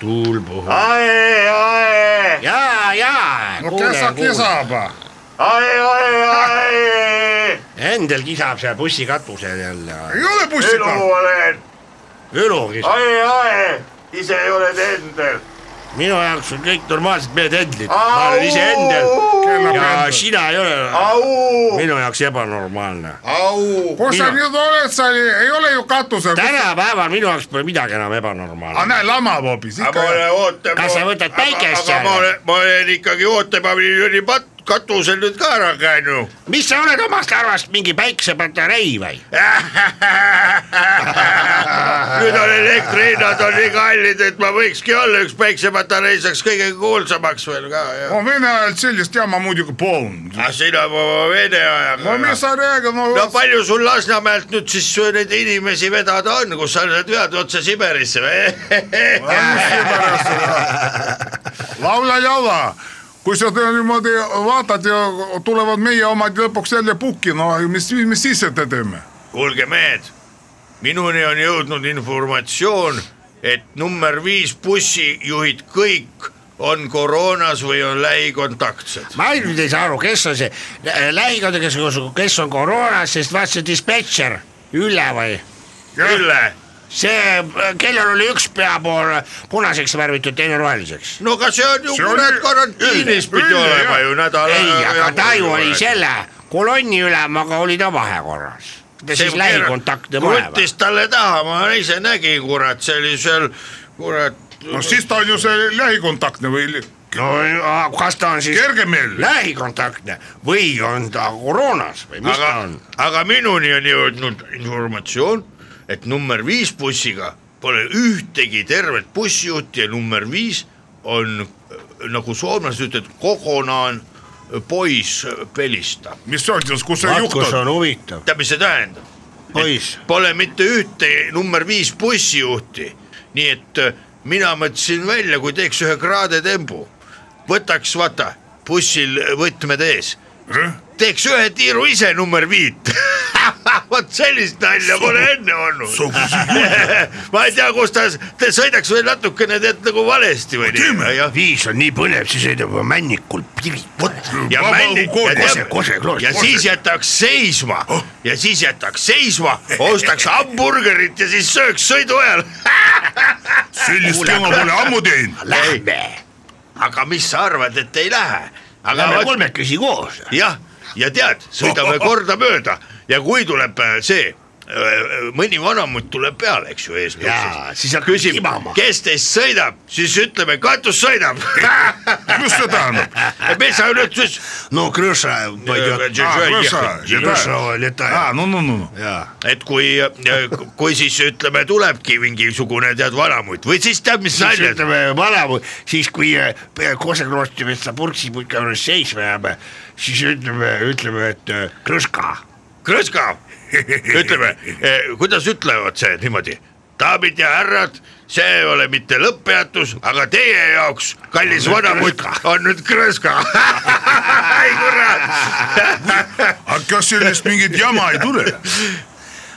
E: tuul puhub .
D: ae , ae ,
E: ja , ja . no kes kisab ?
D: ae , ae , ae ,
E: Endel kisab seal bussikatusel jälle .
F: ei ole bussiga .
D: olen ,
E: Ülu kisab ,
D: ae , ae , ise ei ole Endel .
E: minu jaoks on kõik normaalsed mehed Endlid , ma olen ise Endel ja sina ei ole
D: au ,
E: minu jaoks ebanormaalne .
D: au .
F: kus
E: sa
F: nüüd oled , sa ei ole ju katusel .
E: tänapäeval minu jaoks pole midagi enam
F: aga
E: ebanormaalne .
F: näe , lamab hoopis ikka .
D: oote-
E: kas sa võtad päikest
D: aga ma
E: seal ?
D: olen , ma olen ikkagi ootepaviljoni pat- , katusel nüüd ka ära käinud .
E: mis sa oled omast arvast mingi päiksepatarei või ?
D: nüüd on elektrihinnad on nii kallid , et ma võikski olla üks päiksepatarei , saaks kõige kuulsamaks veel ka ja .
F: Он вымирает сильно, я маму дико полн.
D: aga sina oma vene
F: Ну,
D: ajaga .
F: мисс Орега, ну,
D: no palju sul Lasnamäelt nüüd siis neid inimesi vedada on , kus sa nüüd vead otse Siberisse või ?
F: laula-jaula . kui sa te- niimoodi vaatad ja tulevad meie omad lõpuks jälle pukki , no mis , mis siis ette teeme ?
D: kuulge mehed , minuni on jõudnud informatsioon , et number viis bussijuhid kõik on koroonas või on lähikontaktsed .
E: ma nüüd ei saa aru , kes on see lä- lähikond , kes , kes on koroonas , sest vaat see dispetšer , Ülle või ?
D: Ülle ,
E: see , kellel oli üks peapool punaseks värvitud , teine roheliseks .
D: no aga see on ju ,
F: See on
D: kurat
F: Ülle-
D: karantiinis
F: Ülle,
D: pidi
F: Ülle,
D: olema ju nädal .
E: ei , aga taju oli . selle kolonni ülemaga oli ta vahekorras . ta siis lähikontaktne mõlema .
D: võttis talle taha , ma ise nägin , kurat , see oli seal , kurat .
F: no siis ta on ju see lähikontaktne või
E: no kas ta on siis
F: kergemeelne .
E: lähikontaktne või on ta koroonas või mis ta
D: aga
E: on ?,
D: aga minuni on jõudnud informatsioon , et number viis bussiga pole ühtegi tervet bussijuhti ja number viis on äh, nagu soomlased ütlevad , kogonaan pois pelista .
F: mis see on siis , kus see juht
E: matkus
F: on ?
E: on huvitav ,
D: tead , mis see tähendab ?
E: poiss .
D: Pole mitte ühte number viis bussijuhti , nii et äh, mina mõtlesin välja , kui teeks ühe kraade tembu , võtaks vaata bussil võtmed ees , teeks ühe tiiru ise number viit . vot sellist nalja pole enne olnud . ma ei tea , kus ta , ta sõidaks veel natukene tead nagu valesti või nii . ja,
O: viis on nii põnev , see sõidab juba männikul Pirita .
D: ja, männi, ja,
O: Kose ,
D: teab,
O: Kose Oh. kloostri .
D: ja siis jätaks seisma ja siis jätaks seisma , ostaks hamburgerit ja siis sööks sõidu ajal
F: sellist tema pole ammu teinud .
O: Lähme ,
D: aga mis sa arvad , et ei lähe ? aga
O: lähme
D: vot-
O: kolmekesi koos .
D: jah , ja tead , sõidame kordamööda ja kui tuleb äh, see mõni vanamutt tuleb peale , eks ju ,
P: Jaa,
D: eestlastest . küsib , kes teist sõidab , siis ütleme , katus sõidab . mis see tähendab ? metsaületus .
Q: no krõša
P: Ah,
D: pойдёт.
K: Ah,
F: Ah.
R: А, ну, ну, ну.
D: et kui , kui siis ütleme , tulebki mingisugune tead vanamutt või siis tead , mis
P: Siis
D: nalja .
P: ütleme vanamu , siis kui äh, Kosekroosti metsa purksiputka juures seisma
K: äh,
P: jääme , siis ütleme , ütleme , et äh, krõska .
D: krõska , ütleme , kuidas ütlevad see niimoodi , daamid ja härrad , see ei ole mitte lõpppeatus , aga teie jaoks , kallis
P: On nüüd
D: vanamutt , on nüüd krõska . ai kurat .
F: aga kas sellest mingit jama ei tule ?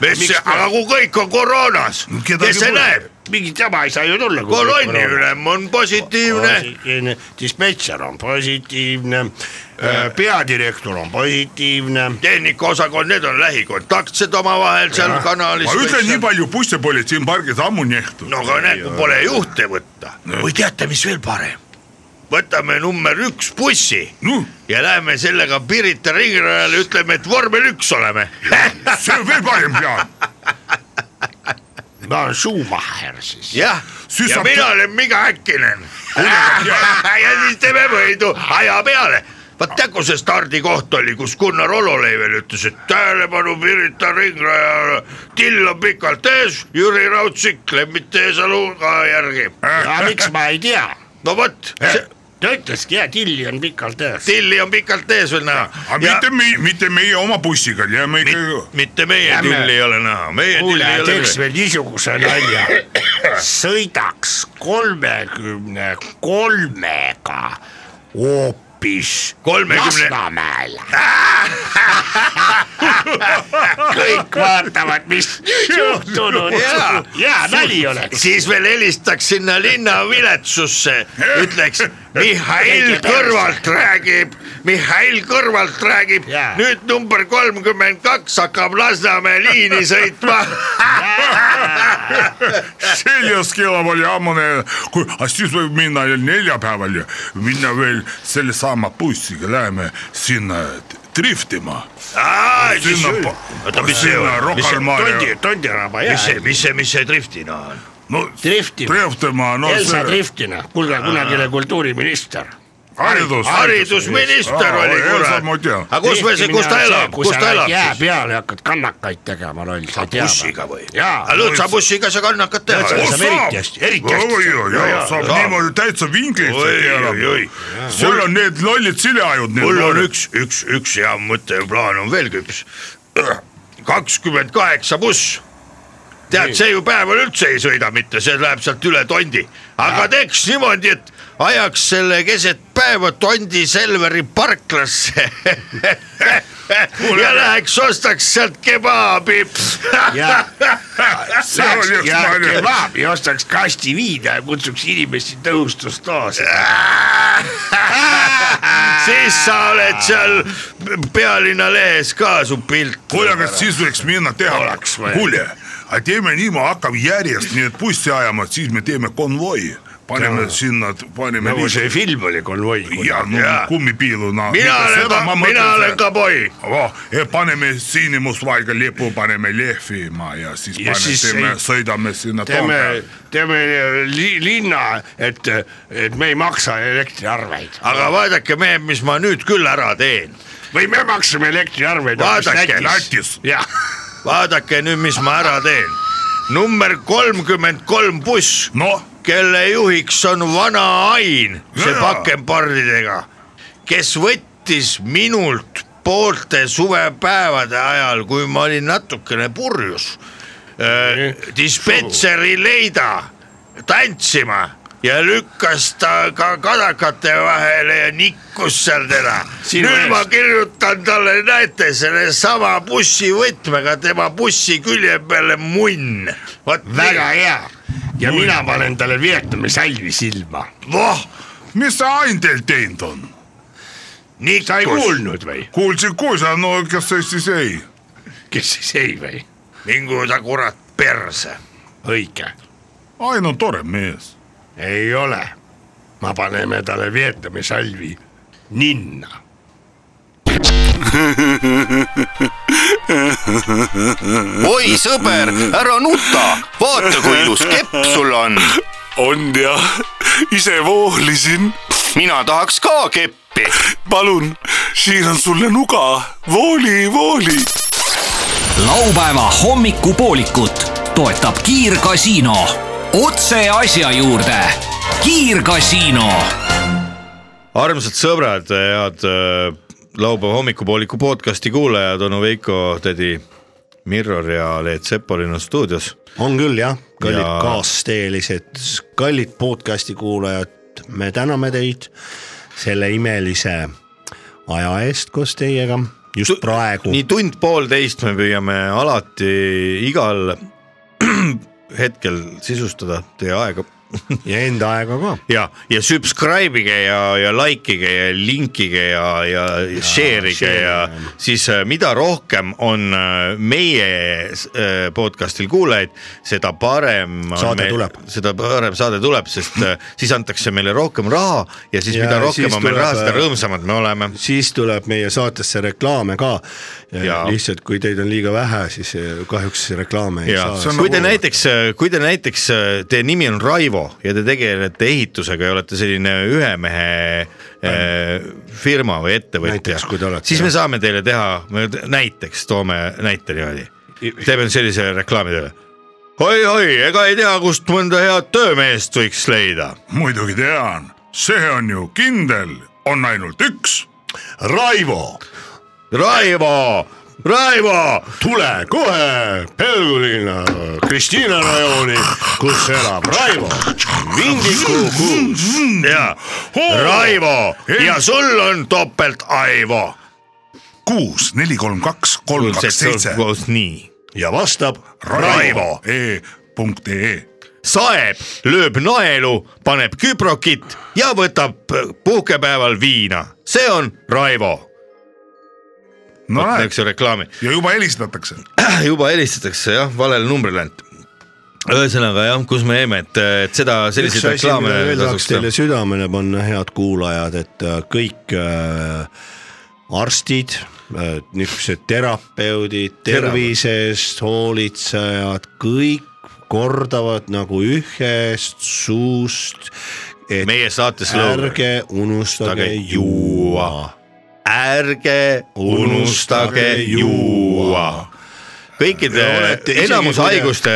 D: mis , aga kui kõik on koroonas , kes see näeb ? mingit jama ei saa ju tulla .
F: Nagu
D: kolonniülem on positiivne .
K: positiivne , dispetšer on positiivne , peadirektor on positiivne .
D: tehnikaosakond , need on lähikontaktsed omavahel seal kanalis .
F: ma ütlen nii palju , bussipolitseipargid ammu nehtud .
D: no aga näed , kui pole juhte võtta või teate , mis veel parem ? võtame number üks bussi
F: no.
D: ja läheme sellega Pirita ringrajale , ütleme , et vormel üks oleme .
F: see on veel parem plaan .
K: ma olen Schumacher siis .
D: jah ,
K: Siis
D: ja
K: saab-
D: mina olen Miga Häkkinen . ja siis teeme võidu aja peale . vaat tead , kus see stardikoht oli , kus Gunnar Ololeivel ütles , et tähelepanu Pirita ringrajale , till on pikalt ees , Jüri Raudsik , Lembit Teesalu ka järgi .
K: aga miks ma ei tea ?
D: no vot ,
K: ta ütleski ja tilli on pikalt ees .
D: tilli on pikalt ees veel näha .
F: aga mitte meie , mitte meie oma bussiga , jääme ikka .
D: mitte meie
K: Lähme.
D: tülli ei ole näha , meie tülli
K: kuule
D: ei , ole
K: teeks
D: näha .
K: veel niisuguse nalja . sõidaks kolmekümne kolmega hoopis
D: Kolmekümne-
K: Lasnamäel . kõik vaatavad , mis nüüd juhtunud .
D: Jaa.
K: hea nali oleks .
D: siis veel helistaks sinna linnaviletsusse , ütleks Mihhail Kõrvalt räägib , Mihhail Kõrvalt räägib , nüüd number kolmkümmend kaks hakkab Lasnamäe liini sõitma .
F: seljas keelab oli ammune , kui , aga siis võib minna veel neljapäeval ja minna veel sellesama bussiga , läheme sinna driftima . sinna ,
D: oota , mis see
F: sinna
D: on , mis see ,
F: Rocalmare ,
K: tondiraba
D: mis see , mis see , mis see driftina on ?
F: no
K: driftima ,
F: driftima , no
K: Elsa
F: see
K: Driftina , kuulge , kunagi oli kultuuriminister .
F: haridus .
D: haridusminister oli
F: Elsa ma
D: kurat .
F: tean .
D: aga kus me , kus ta elab , kus ta elab
K: jää
D: siis ?
K: peale ja hakkad kannakaid tegema , loll , sa tead .
D: bussiga või ?
K: jaa ,
D: lõõtsabussiga sa kannakad teha
K: Lõõtsa-
D: ju .
K: saab eriti hästi- eriti hästi
F: oi , oi ,
D: Jaa,
F: oi
D: jaa, ,
F: saab
D: saab.
F: niimoodi täitsa vinklitsa
D: Oi, oi,
F: keerama
D: oi. .
F: sul on need lollid sileajud .
D: mul on üks , üks , üks hea mõte ja plaan on veel küps . kakskümmend kaheksa buss . tead , see ju päeval üldse ei sõida mitte , see läheb sealt üle tondi , aga teeks niimoodi , et ajaks selle keset päeva Tondi Selveri parklasse ja läheks ostaks sealt kebaabi .
K: Jaa.
F: see oli üks
K: ja
F: nalja .
K: kebaabi ostaks kasti viina ja kutsuks inimesi tõhustusdoosi .
D: siis sa oled seal pealinna lehes ka su pilt .
F: kuule , aga siis võiks minna teha
K: Oleks või? ,
F: kuule , aga teeme nii , ma hakkan järjest neid bussi ajama , siis me teeme konvoi , paneme sinna , paneme
K: nagu see . film oli konvoi .
F: ja no
D: Jaa.
F: kummipiiluna .
D: mina olen ka , mina olen . kaboi .
F: Oh, paneme sinimustvalge lipu , paneme lehvima ja siis,
K: Ja
F: ja
K: siis
F: siis teeme,
K: ei-
F: sõidame sinna
K: teeme
F: Toompeale .,
K: teeme äh, li, linna , et , et me ei maksa elektriarveid
D: aga vaadake , mehed , mis ma nüüd küll ära teen .
K: või me maksame elektriarveid .
D: Vaadake,
F: Lätis ,
K: jah ,
D: vaadake nüüd , mis ma ära teen . number kolmkümmend kolm buss ,
F: noh ,
D: kelle juhiks on vana Ain , see
F: Jaa.
D: pakempardidega , kes võttis minult poolte suvepäevade ajal , kui ma olin natukene purjus , dispetšeri leida tantsima ja lükkas ta ka kadakate vahele ja nikkus seal teda .
K: Sinu
D: nüüd
K: eest.
D: ma kirjutan talle , näete , sellesama bussivõtmega tema bussi külje peale munn . vot
K: väga . hea ja mina panen talle Vietnami salvi silma .
D: voh ,
F: mis see Ain teil teinud on ?
K: sa ei
D: nikkus ,
K: kuulnud või ,
F: kuulsin , kuulsin , no kas see siis ei ?
K: kes siis ei või ,
D: mingu ta kurat perse .
K: õige ,
F: Ain on tore mees .
K: ei ole . me paneme talle Vietnami salvi ninna .
J: oi sõber , ära nuta , vaata kui ilus kepp sul on .
S: on jah , ise voolisin .
J: mina tahaks ka keppi .
S: palun , siin on sulle nuga , vooli , vooli .
C: laupäeva hommikupoolikut toetab Kiirgasiino . otse asja juurde . kiirgasiino .
D: armsad sõbrad , head äh, laupäeva hommikupooliku podcasti kuulajad , onu Veiko , tädi Mirror ja Leet Sepolin on stuudios .
K: on küll jah , kallid
D: Ja-
K: ja... kaasteelised , kallid podcast'i kuulajad , me täname teid selle imelise aja eest koos teiega just praegu .
D: nii tund-poolteist me püüame alati igal hetkel sisustada teie aega .
K: ja enda aega ka .
D: ja , ja subscribe ige ja , ja like ige ja linkige ja , ja, ja share ige ja siis äh, mida rohkem on äh, meie äh, podcast'il kuulajaid , seda parem .
K: Saade tuleb.
D: seda parem saade tuleb , sest äh, siis antakse meile rohkem raha ja siis ja mida rohkem on meil raha , seda rõõmsam . me oleme .
K: siis tuleb meie saatesse reklaame ka .
D: Jaa.
K: lihtsalt , kui teid on liiga vähe , siis eh, kahjuks reklaame ei
D: ja
E: nagu
K: saa .
D: kui te näiteks , kui te näiteks , teie nimi on Raivo ja te tegelete ehitusega ja olete selline ühe mehe eh, firma või ettevõtja , siis me saame teile teha , me t- näiteks toome näite niimoodi , teeme sellise reklaami teile . oi-oi , ega ei tea , kust mõnda head töömeest võiks leida .
F: muidugi tean , see on ju kindel , on ainult üks .
K: Raivo .
D: Raivo , Raivo .
K: tule kohe Äh, Pelgulinna Kristiina rajooni , kus elab Raivo . Vindiku kuus .
D: ja Raivo ja sul on topelt Aivo .
F: kuus , neli , kolm , kaks , kolm , kaks , seitse .
D: nii .
K: ja vastab
F: Raivo E punkt E. ee .
D: saeb , lööb naelu , paneb küprokit ja võtab puhkepäeval viina , see on Raivo .
F: no näed ,
D: eks ju reklaami ,
F: ja juba helistatakse .
D: Ah, juba helistatakse jah , valele numbrile ainult . ühesõnaga jah , kus me jäime , et , et seda ,
K: üks
D: selliseid
K: asi ,
D: reklaame
K: mida veel tahaks
D: tasuks
K: teile
D: teha .
K: südamele panna , head kuulajad , et äh, kõik äh, arstid , niisugused terapeudid , tervise eest hoolitsejad , kõik kordavad nagu ühest suust , et
D: noh, meie saates lõuna .
K: ärge unustage
D: juua . ärge unustage juua . kõikide , enamus haiguste .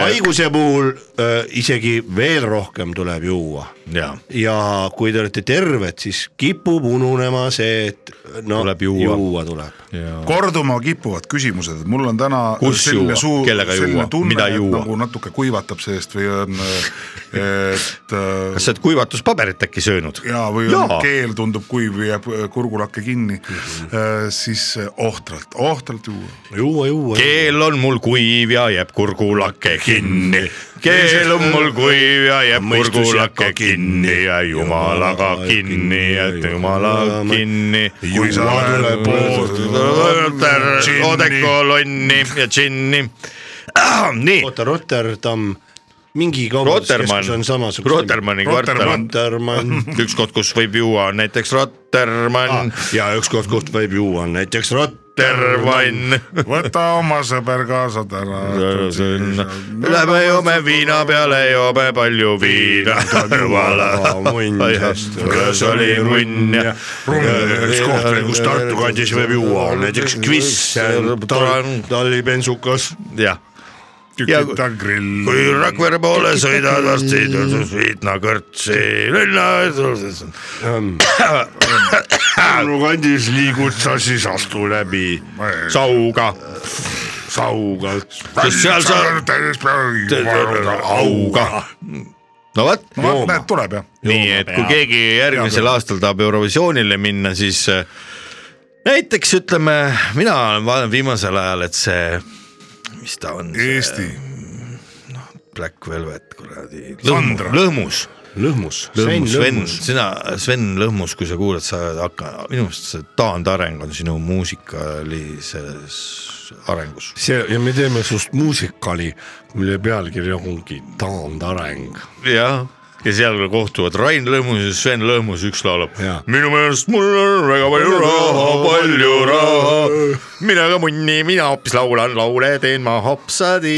K: haiguse puhul äh, isegi veel rohkem tuleb juua
D: ja
K: ja kui te olete terved , siis kipub ununema see , et no
D: Tuleb juua.
K: juua tuleb .
F: korduma kipuvad küsimused , et mul on täna
D: Kus juua? Kellega juua? Mida juua?
F: nagu natuke kuivatab seest või on , et äh,
D: kas sa oled kuivatuspaberit äkki söönud ?
F: ja või on
D: Jaa. Mhm.
F: keel tundub kuiv ja jääb äh, kurgulakke kinni mm , -hmm. siis ohtralt , ohtralt juua .
K: juua , juua .
D: keel on mul kuiv ja jääb kurgulake kinni . keel on mul kuiv ja jääb kurgulake kinni ja jumalaga kinni ja jumala kinni .
F: kui sa oled
D: odekolonni ja džinni . nii ,
K: oota , Rotterdam , mingi
D: Rotermann
K: kaubanduskeskus on samasugune .
D: Rotermanni kvartal ,
K: Rotermann
D: üks koht , kus võib juua , on näiteks Rotermann ,
K: ja üks koht , kust võib juua , on näiteks Rotermann .
D: Tervann .
F: võta oma sõber kaasa täna .
D: Lähme joome viina peale , joome palju viina . kas oli munn ja .
K: üks koht veel , kus Tartu kandis võib juua , on näiteks Kviss , Tallibensukas .
D: jah ,
F: tükita grill .
D: kui Rakvere poole sõidad , varsti tõusus viinakõrtsi linna .
K: Pärnu kandis liigud sa siis astu läbi
F: Äh,
D: sauga ,
K: saugalt .
D: sest seal saab auga . no vot ,
F: vot näed , tuleb jah .
D: nii et kui keegi järgmisel aastal tahab Eurovisioonile minna , siis äh, näiteks ütleme , mina olen vaadanud viimasel ajal , et see , mis ta on ,
F: Eesti ,
D: Black Velvet kuradi ,
F: Sandra.
D: lõhmus .
K: lõhmus .
D: lõhmus , Sven , sina , Sven Lõhmus , kui sa kuulad , sa hakka , minu meelest see taandareng on sinu muusikalises arengus .
K: see ja me teeme sinust muusikali , mille pealkiri ongi Taandareng .
D: jah , ja seal kohtuvad Rain Lõhmus ja Sven Lõhmus , üks laulab
K: Jaa.
D: minu meelest mul on väga palju raha , palju raha , mina ka munni , mina hoopis laulan laule , teen ma hopsadi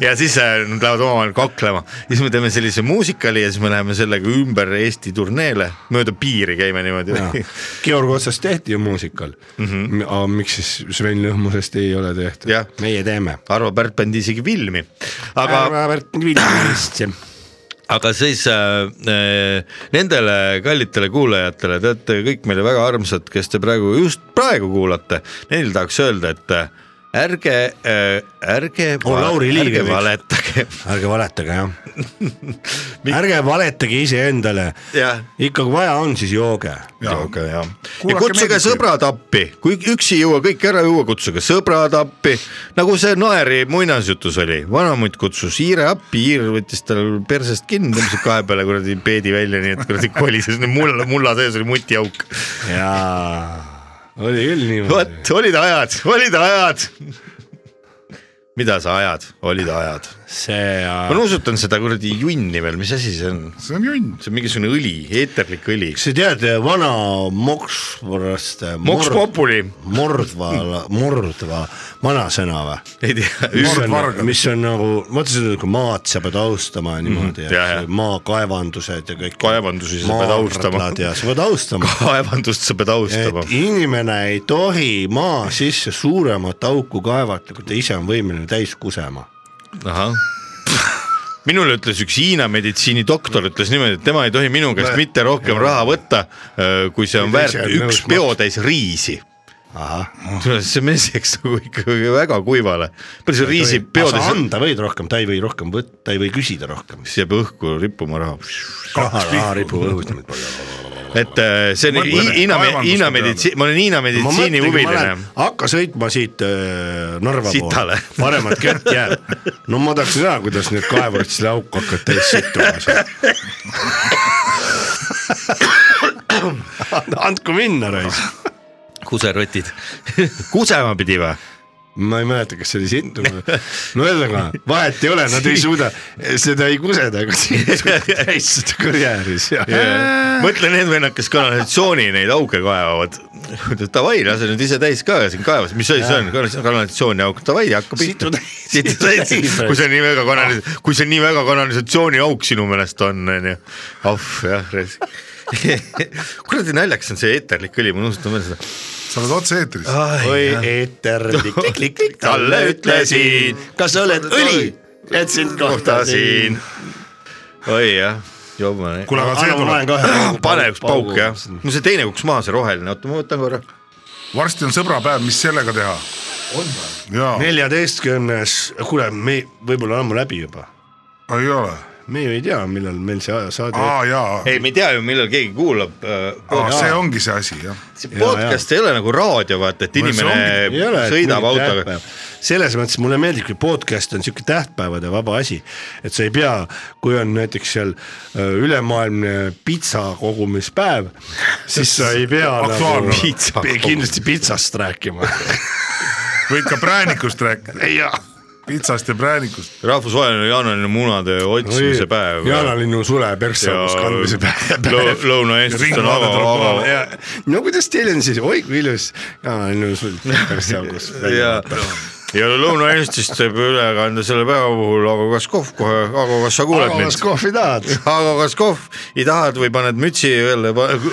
D: ja siis äh, nad lähevad omavahel kaklema . siis me teeme sellise muusikali ja siis me läheme sellega ümber Eesti turneele , mööda piiri käime niimoodi .
E: Georg Otsast tehti ju muusikal mm ,
D: Mhm.
E: -hmm. aga miks siis Sven Lõhmusest ei ole tehtud ? meie teeme .
D: Arvo Pärt pandi isegi filmi , aga .
E: Arvo Pärt pandi filmi vist jah
D: aga siis äh, äh, nendele kallitele kuulajatele , te olete kõik meile väga armsad , kes te praegu just praegu kuulate , neil tahaks öelda , et äh, ärge äh, , ärge .
E: on Lauri Liiv
D: ärge valetage .
E: ärge valetage jah ärge valetage iseendale
D: Jah. .
E: ikka kui vaja on , siis jooge .
D: jooge jah . ja kutsuge . sõbrad appi , kui üks ei jõua kõik ära juua , kutsuge sõbrad appi . nagu see Naeri muinasjutus oli , vanamutt kutsus hiire appi , hiir võttis tal persest kinni , tõmbas kahe peale kuradi peedi välja , nii et kuradi kolises , mulla , mulla sees oli mutiauk .
E: jaa , oli küll niimoodi .
D: vot , olid ajad , olid ajad . mida sa ajad , olid ajad .
E: see .
D: ma nuusutan seda kuradi junni veel , mis asi see on ?
F: see on junn .
D: see on mingisugune õli , eeterlik õli .
E: kas sa tead eh, vana Moksvorast ?
D: Moks Populi. .
E: Mordva , Mordva vanasõna või ?
D: ei tea .
E: mis on , mis on nagu , vaata seda nagu maad sa pead austama niimoodi mm ,
D: jah, Mhm. jah.
E: -hmm, maakaevandused ja kõik .
D: kaevandusi sa pead austama .
E: ja sa pead austama .
D: kaevandust sa pead austama
E: et . inimene ei tohi maa sisse suuremat auku kaevata , kui ta ise on võimeline täis kusema .
D: ahah minule ütles üks Hiina meditsiinidoktor , ütles niimoodi , et tema ei tohi minu käest mitte rohkem raha võtta , kui see on
E: Kui ta ise
D: väärt
E: on nõus
D: üks peotäis riisi . see mees läks nagu ikkagi väga kuivale , palju see riisi
E: sa
D: peotäis ,
E: anda võid rohkem , ta ei või rohkem võtta , ta ei või küsida rohkem .
D: siis jääb õhku rippuma raha .
E: raha , raha ripub õhust .
D: et äh, see on
E: Ma mõtlen,
D: Hi- Hiina ,
E: kaevandust
D: Hiina
E: on
D: meditsiin , ma olen Hiina meditsiini huviline .
E: hakka sõitma siit äh, Narva
D: Sitale.
E: poole , paremat kätt jääb . no ma tahaks näha , kuidas need kaevurid selle auku hakkavad täis sittuma seal And- andku minna , raisk .
D: kuserotid . kusema pidi või ?
E: ma ei mäleta , kas see oli sittu või , no ühesõnaga vahet ei ole , nad ei suuda , seda ei kuseda , aga täis seda karjääris ja .
D: mõtle , need vennad , kes kanalisatsiooni neid auke kaevavad . Davai , lase nüüd ise täis ka siin kaevas , mis asi see on , kanalisatsiooni auk , davai , hakka pihta . situ täis , kui see nii väga kanalis- , kui see nii väga kanalisatsiooni auk sinu meelest on , onju . ah jah , kuradi naljakas on see eeterlik õli , ma unustan veel seda .
F: sa oled otse-eetris .
E: oi
D: E-,
E: eeter , klikk-klikk-klikk ,
D: talle ütlesin,
E: kas sa oled õli , et sind kohtasin .
D: kohtasin . oi jah , jumala .
E: Kuule, aga see Anna, ma tuleb- panen kohe- nagu
D: pane üks pauk
E: paugu.
D: jah , no see teine kukkus maha , see roheline , oota ma võtan korra .
F: varsti on sõbrapäev , mis sellega teha ? jaa ,
E: neljateistkümnes , kuule , me võib-olla oleme läbi juba ,
F: ei ole .
E: me ju ei tea , millal meil see aja- saade .
F: aa jaa ,
D: ei , me ei tea ju , millal keegi kuulab äh, .
F: see ongi see asi jah .
D: see podcast ei ole nagu raadio , vaata , et
E: Ei
D: inimene
E: ole,
D: sõidab
E: et mingit
D: autoga
E: tähtpäeva. . selles mõttes mulle meeldib , kui podcast on sihuke tähtpäevade vaba asi , et sa ei pea , kui on näiteks seal öö, ülemaailmne pitsa kogumispäev , siis sa ei pea
F: Aktuaalne.
E: nagu
D: Pitsa
E: pe-
D: kogum-
E: kindlasti pitsast rääkima .
F: võid ka präänikust rääkida . pitsast ja präänikust .
D: rahvusvaheline jaanaline munade otsimise päev .
E: jaanalinnu sule persse hoogus kandmise päev .
D: Lõuna-Eestis on ava , ava ,
E: no kuidas teil on siis , oi kui ilus jaanalinnu sul persse hoogus .
D: ja , ja Lõuna-Eestist võib üle kanda selle päeva puhul Ago Kaskov kohe , Ago , kas sa kuuled
E: kas
D: mind ?
E: kohvi tahad ?
D: Ago Kaskov , ei tahad või paned mütsi jälle ,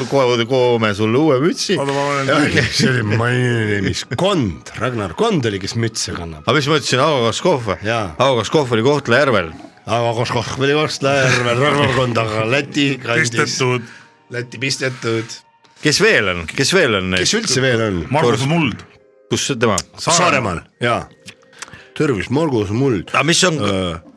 D: kohe koome sulle uue mütsi .
F: oota , ma panen
E: Ei,
F: kinni .
E: see oli mainis Kond , Ragnar Kond oli , kes mütse kannab .
D: aga mis ma ütlesin , Ago Kaskov või ?
E: Jaa.
D: Ago Kaskov oli Kohtla-Järvel
E: aga kus kohv oli Kohtla-Järvel , Ragnar Kond , aga Läti kandis ,
F: pistetud .
E: Läti pistetud .
D: kes veel on , kes veel on
E: kes
D: neist ,
E: üldse veel on ?
F: Margus Muld .
D: kus see tema ?
E: Saaremaal , jaa . tervist , Margus Muld .
D: aga mis on ,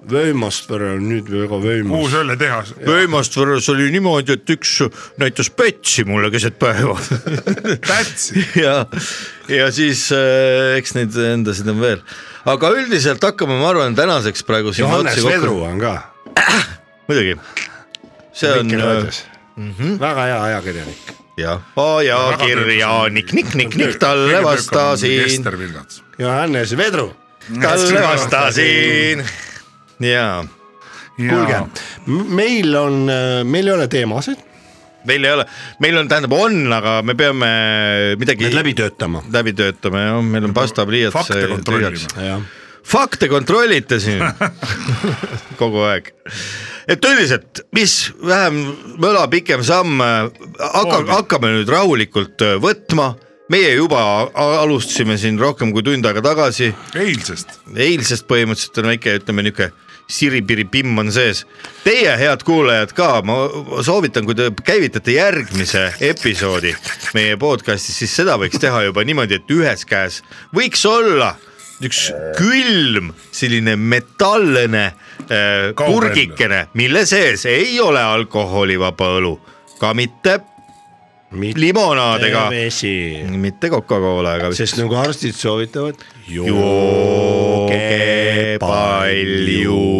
E: Vöömaspere on nüüd väga
F: uus
E: Vöömas .
F: õlletehas .
D: Pöimastvõrras oli niimoodi , et üks näitas pätsi mulle keset päeva
F: Pätsi? ?
D: ja , ja siis äh, eks neid endasid on veel , aga üldiselt hakkame , ma arvan , tänaseks praegu siin
E: Johannes
D: otsi kokku-
E: Vedru on ka ,
D: muidugi , see on äh,
E: Vikerraadios . väga hea ajakirjanik .
D: jah , ja kirjanik Nikk-Nikk-Nikk talle vastasin ,
F: Ester Vilgats .
E: Johannes Vedru ,
D: talle vastasin ja
E: äh, kuulge , meil on , meil ei ole teemasid
D: meil ei ole , meil on , tähendab on , aga me peame midagi . läbi
E: töötama .
D: läbi töötama jah , meil on äh, pastapliiats .
E: Fakte kontrollima. Jah.
D: fakte kontrollite siin kogu aeg . et üldiselt , mis vähem möla , pikem samm , hakka , hakkame nüüd rahulikult äh, võtma meie juba a- alustasime siin rohkem kui tund aega tagasi .
G: eilsest .
D: eilsest põhimõtteliselt on väike , ütleme niuke siripiripimm on sees . Teie , head kuulajad ka , ma ma soovitan , kui te käivitate järgmise episoodi meie podcast'is , siis seda võiks teha juba niimoodi , et ühes käes võiks olla üks külm selline metallene äh, purgikene , mille sees ei ole alkoholivaba õlu , ka mitte limonaad ega mitte Coca-Cola , aga
E: sest nagu arstid soovitavad ,
D: jooge palju .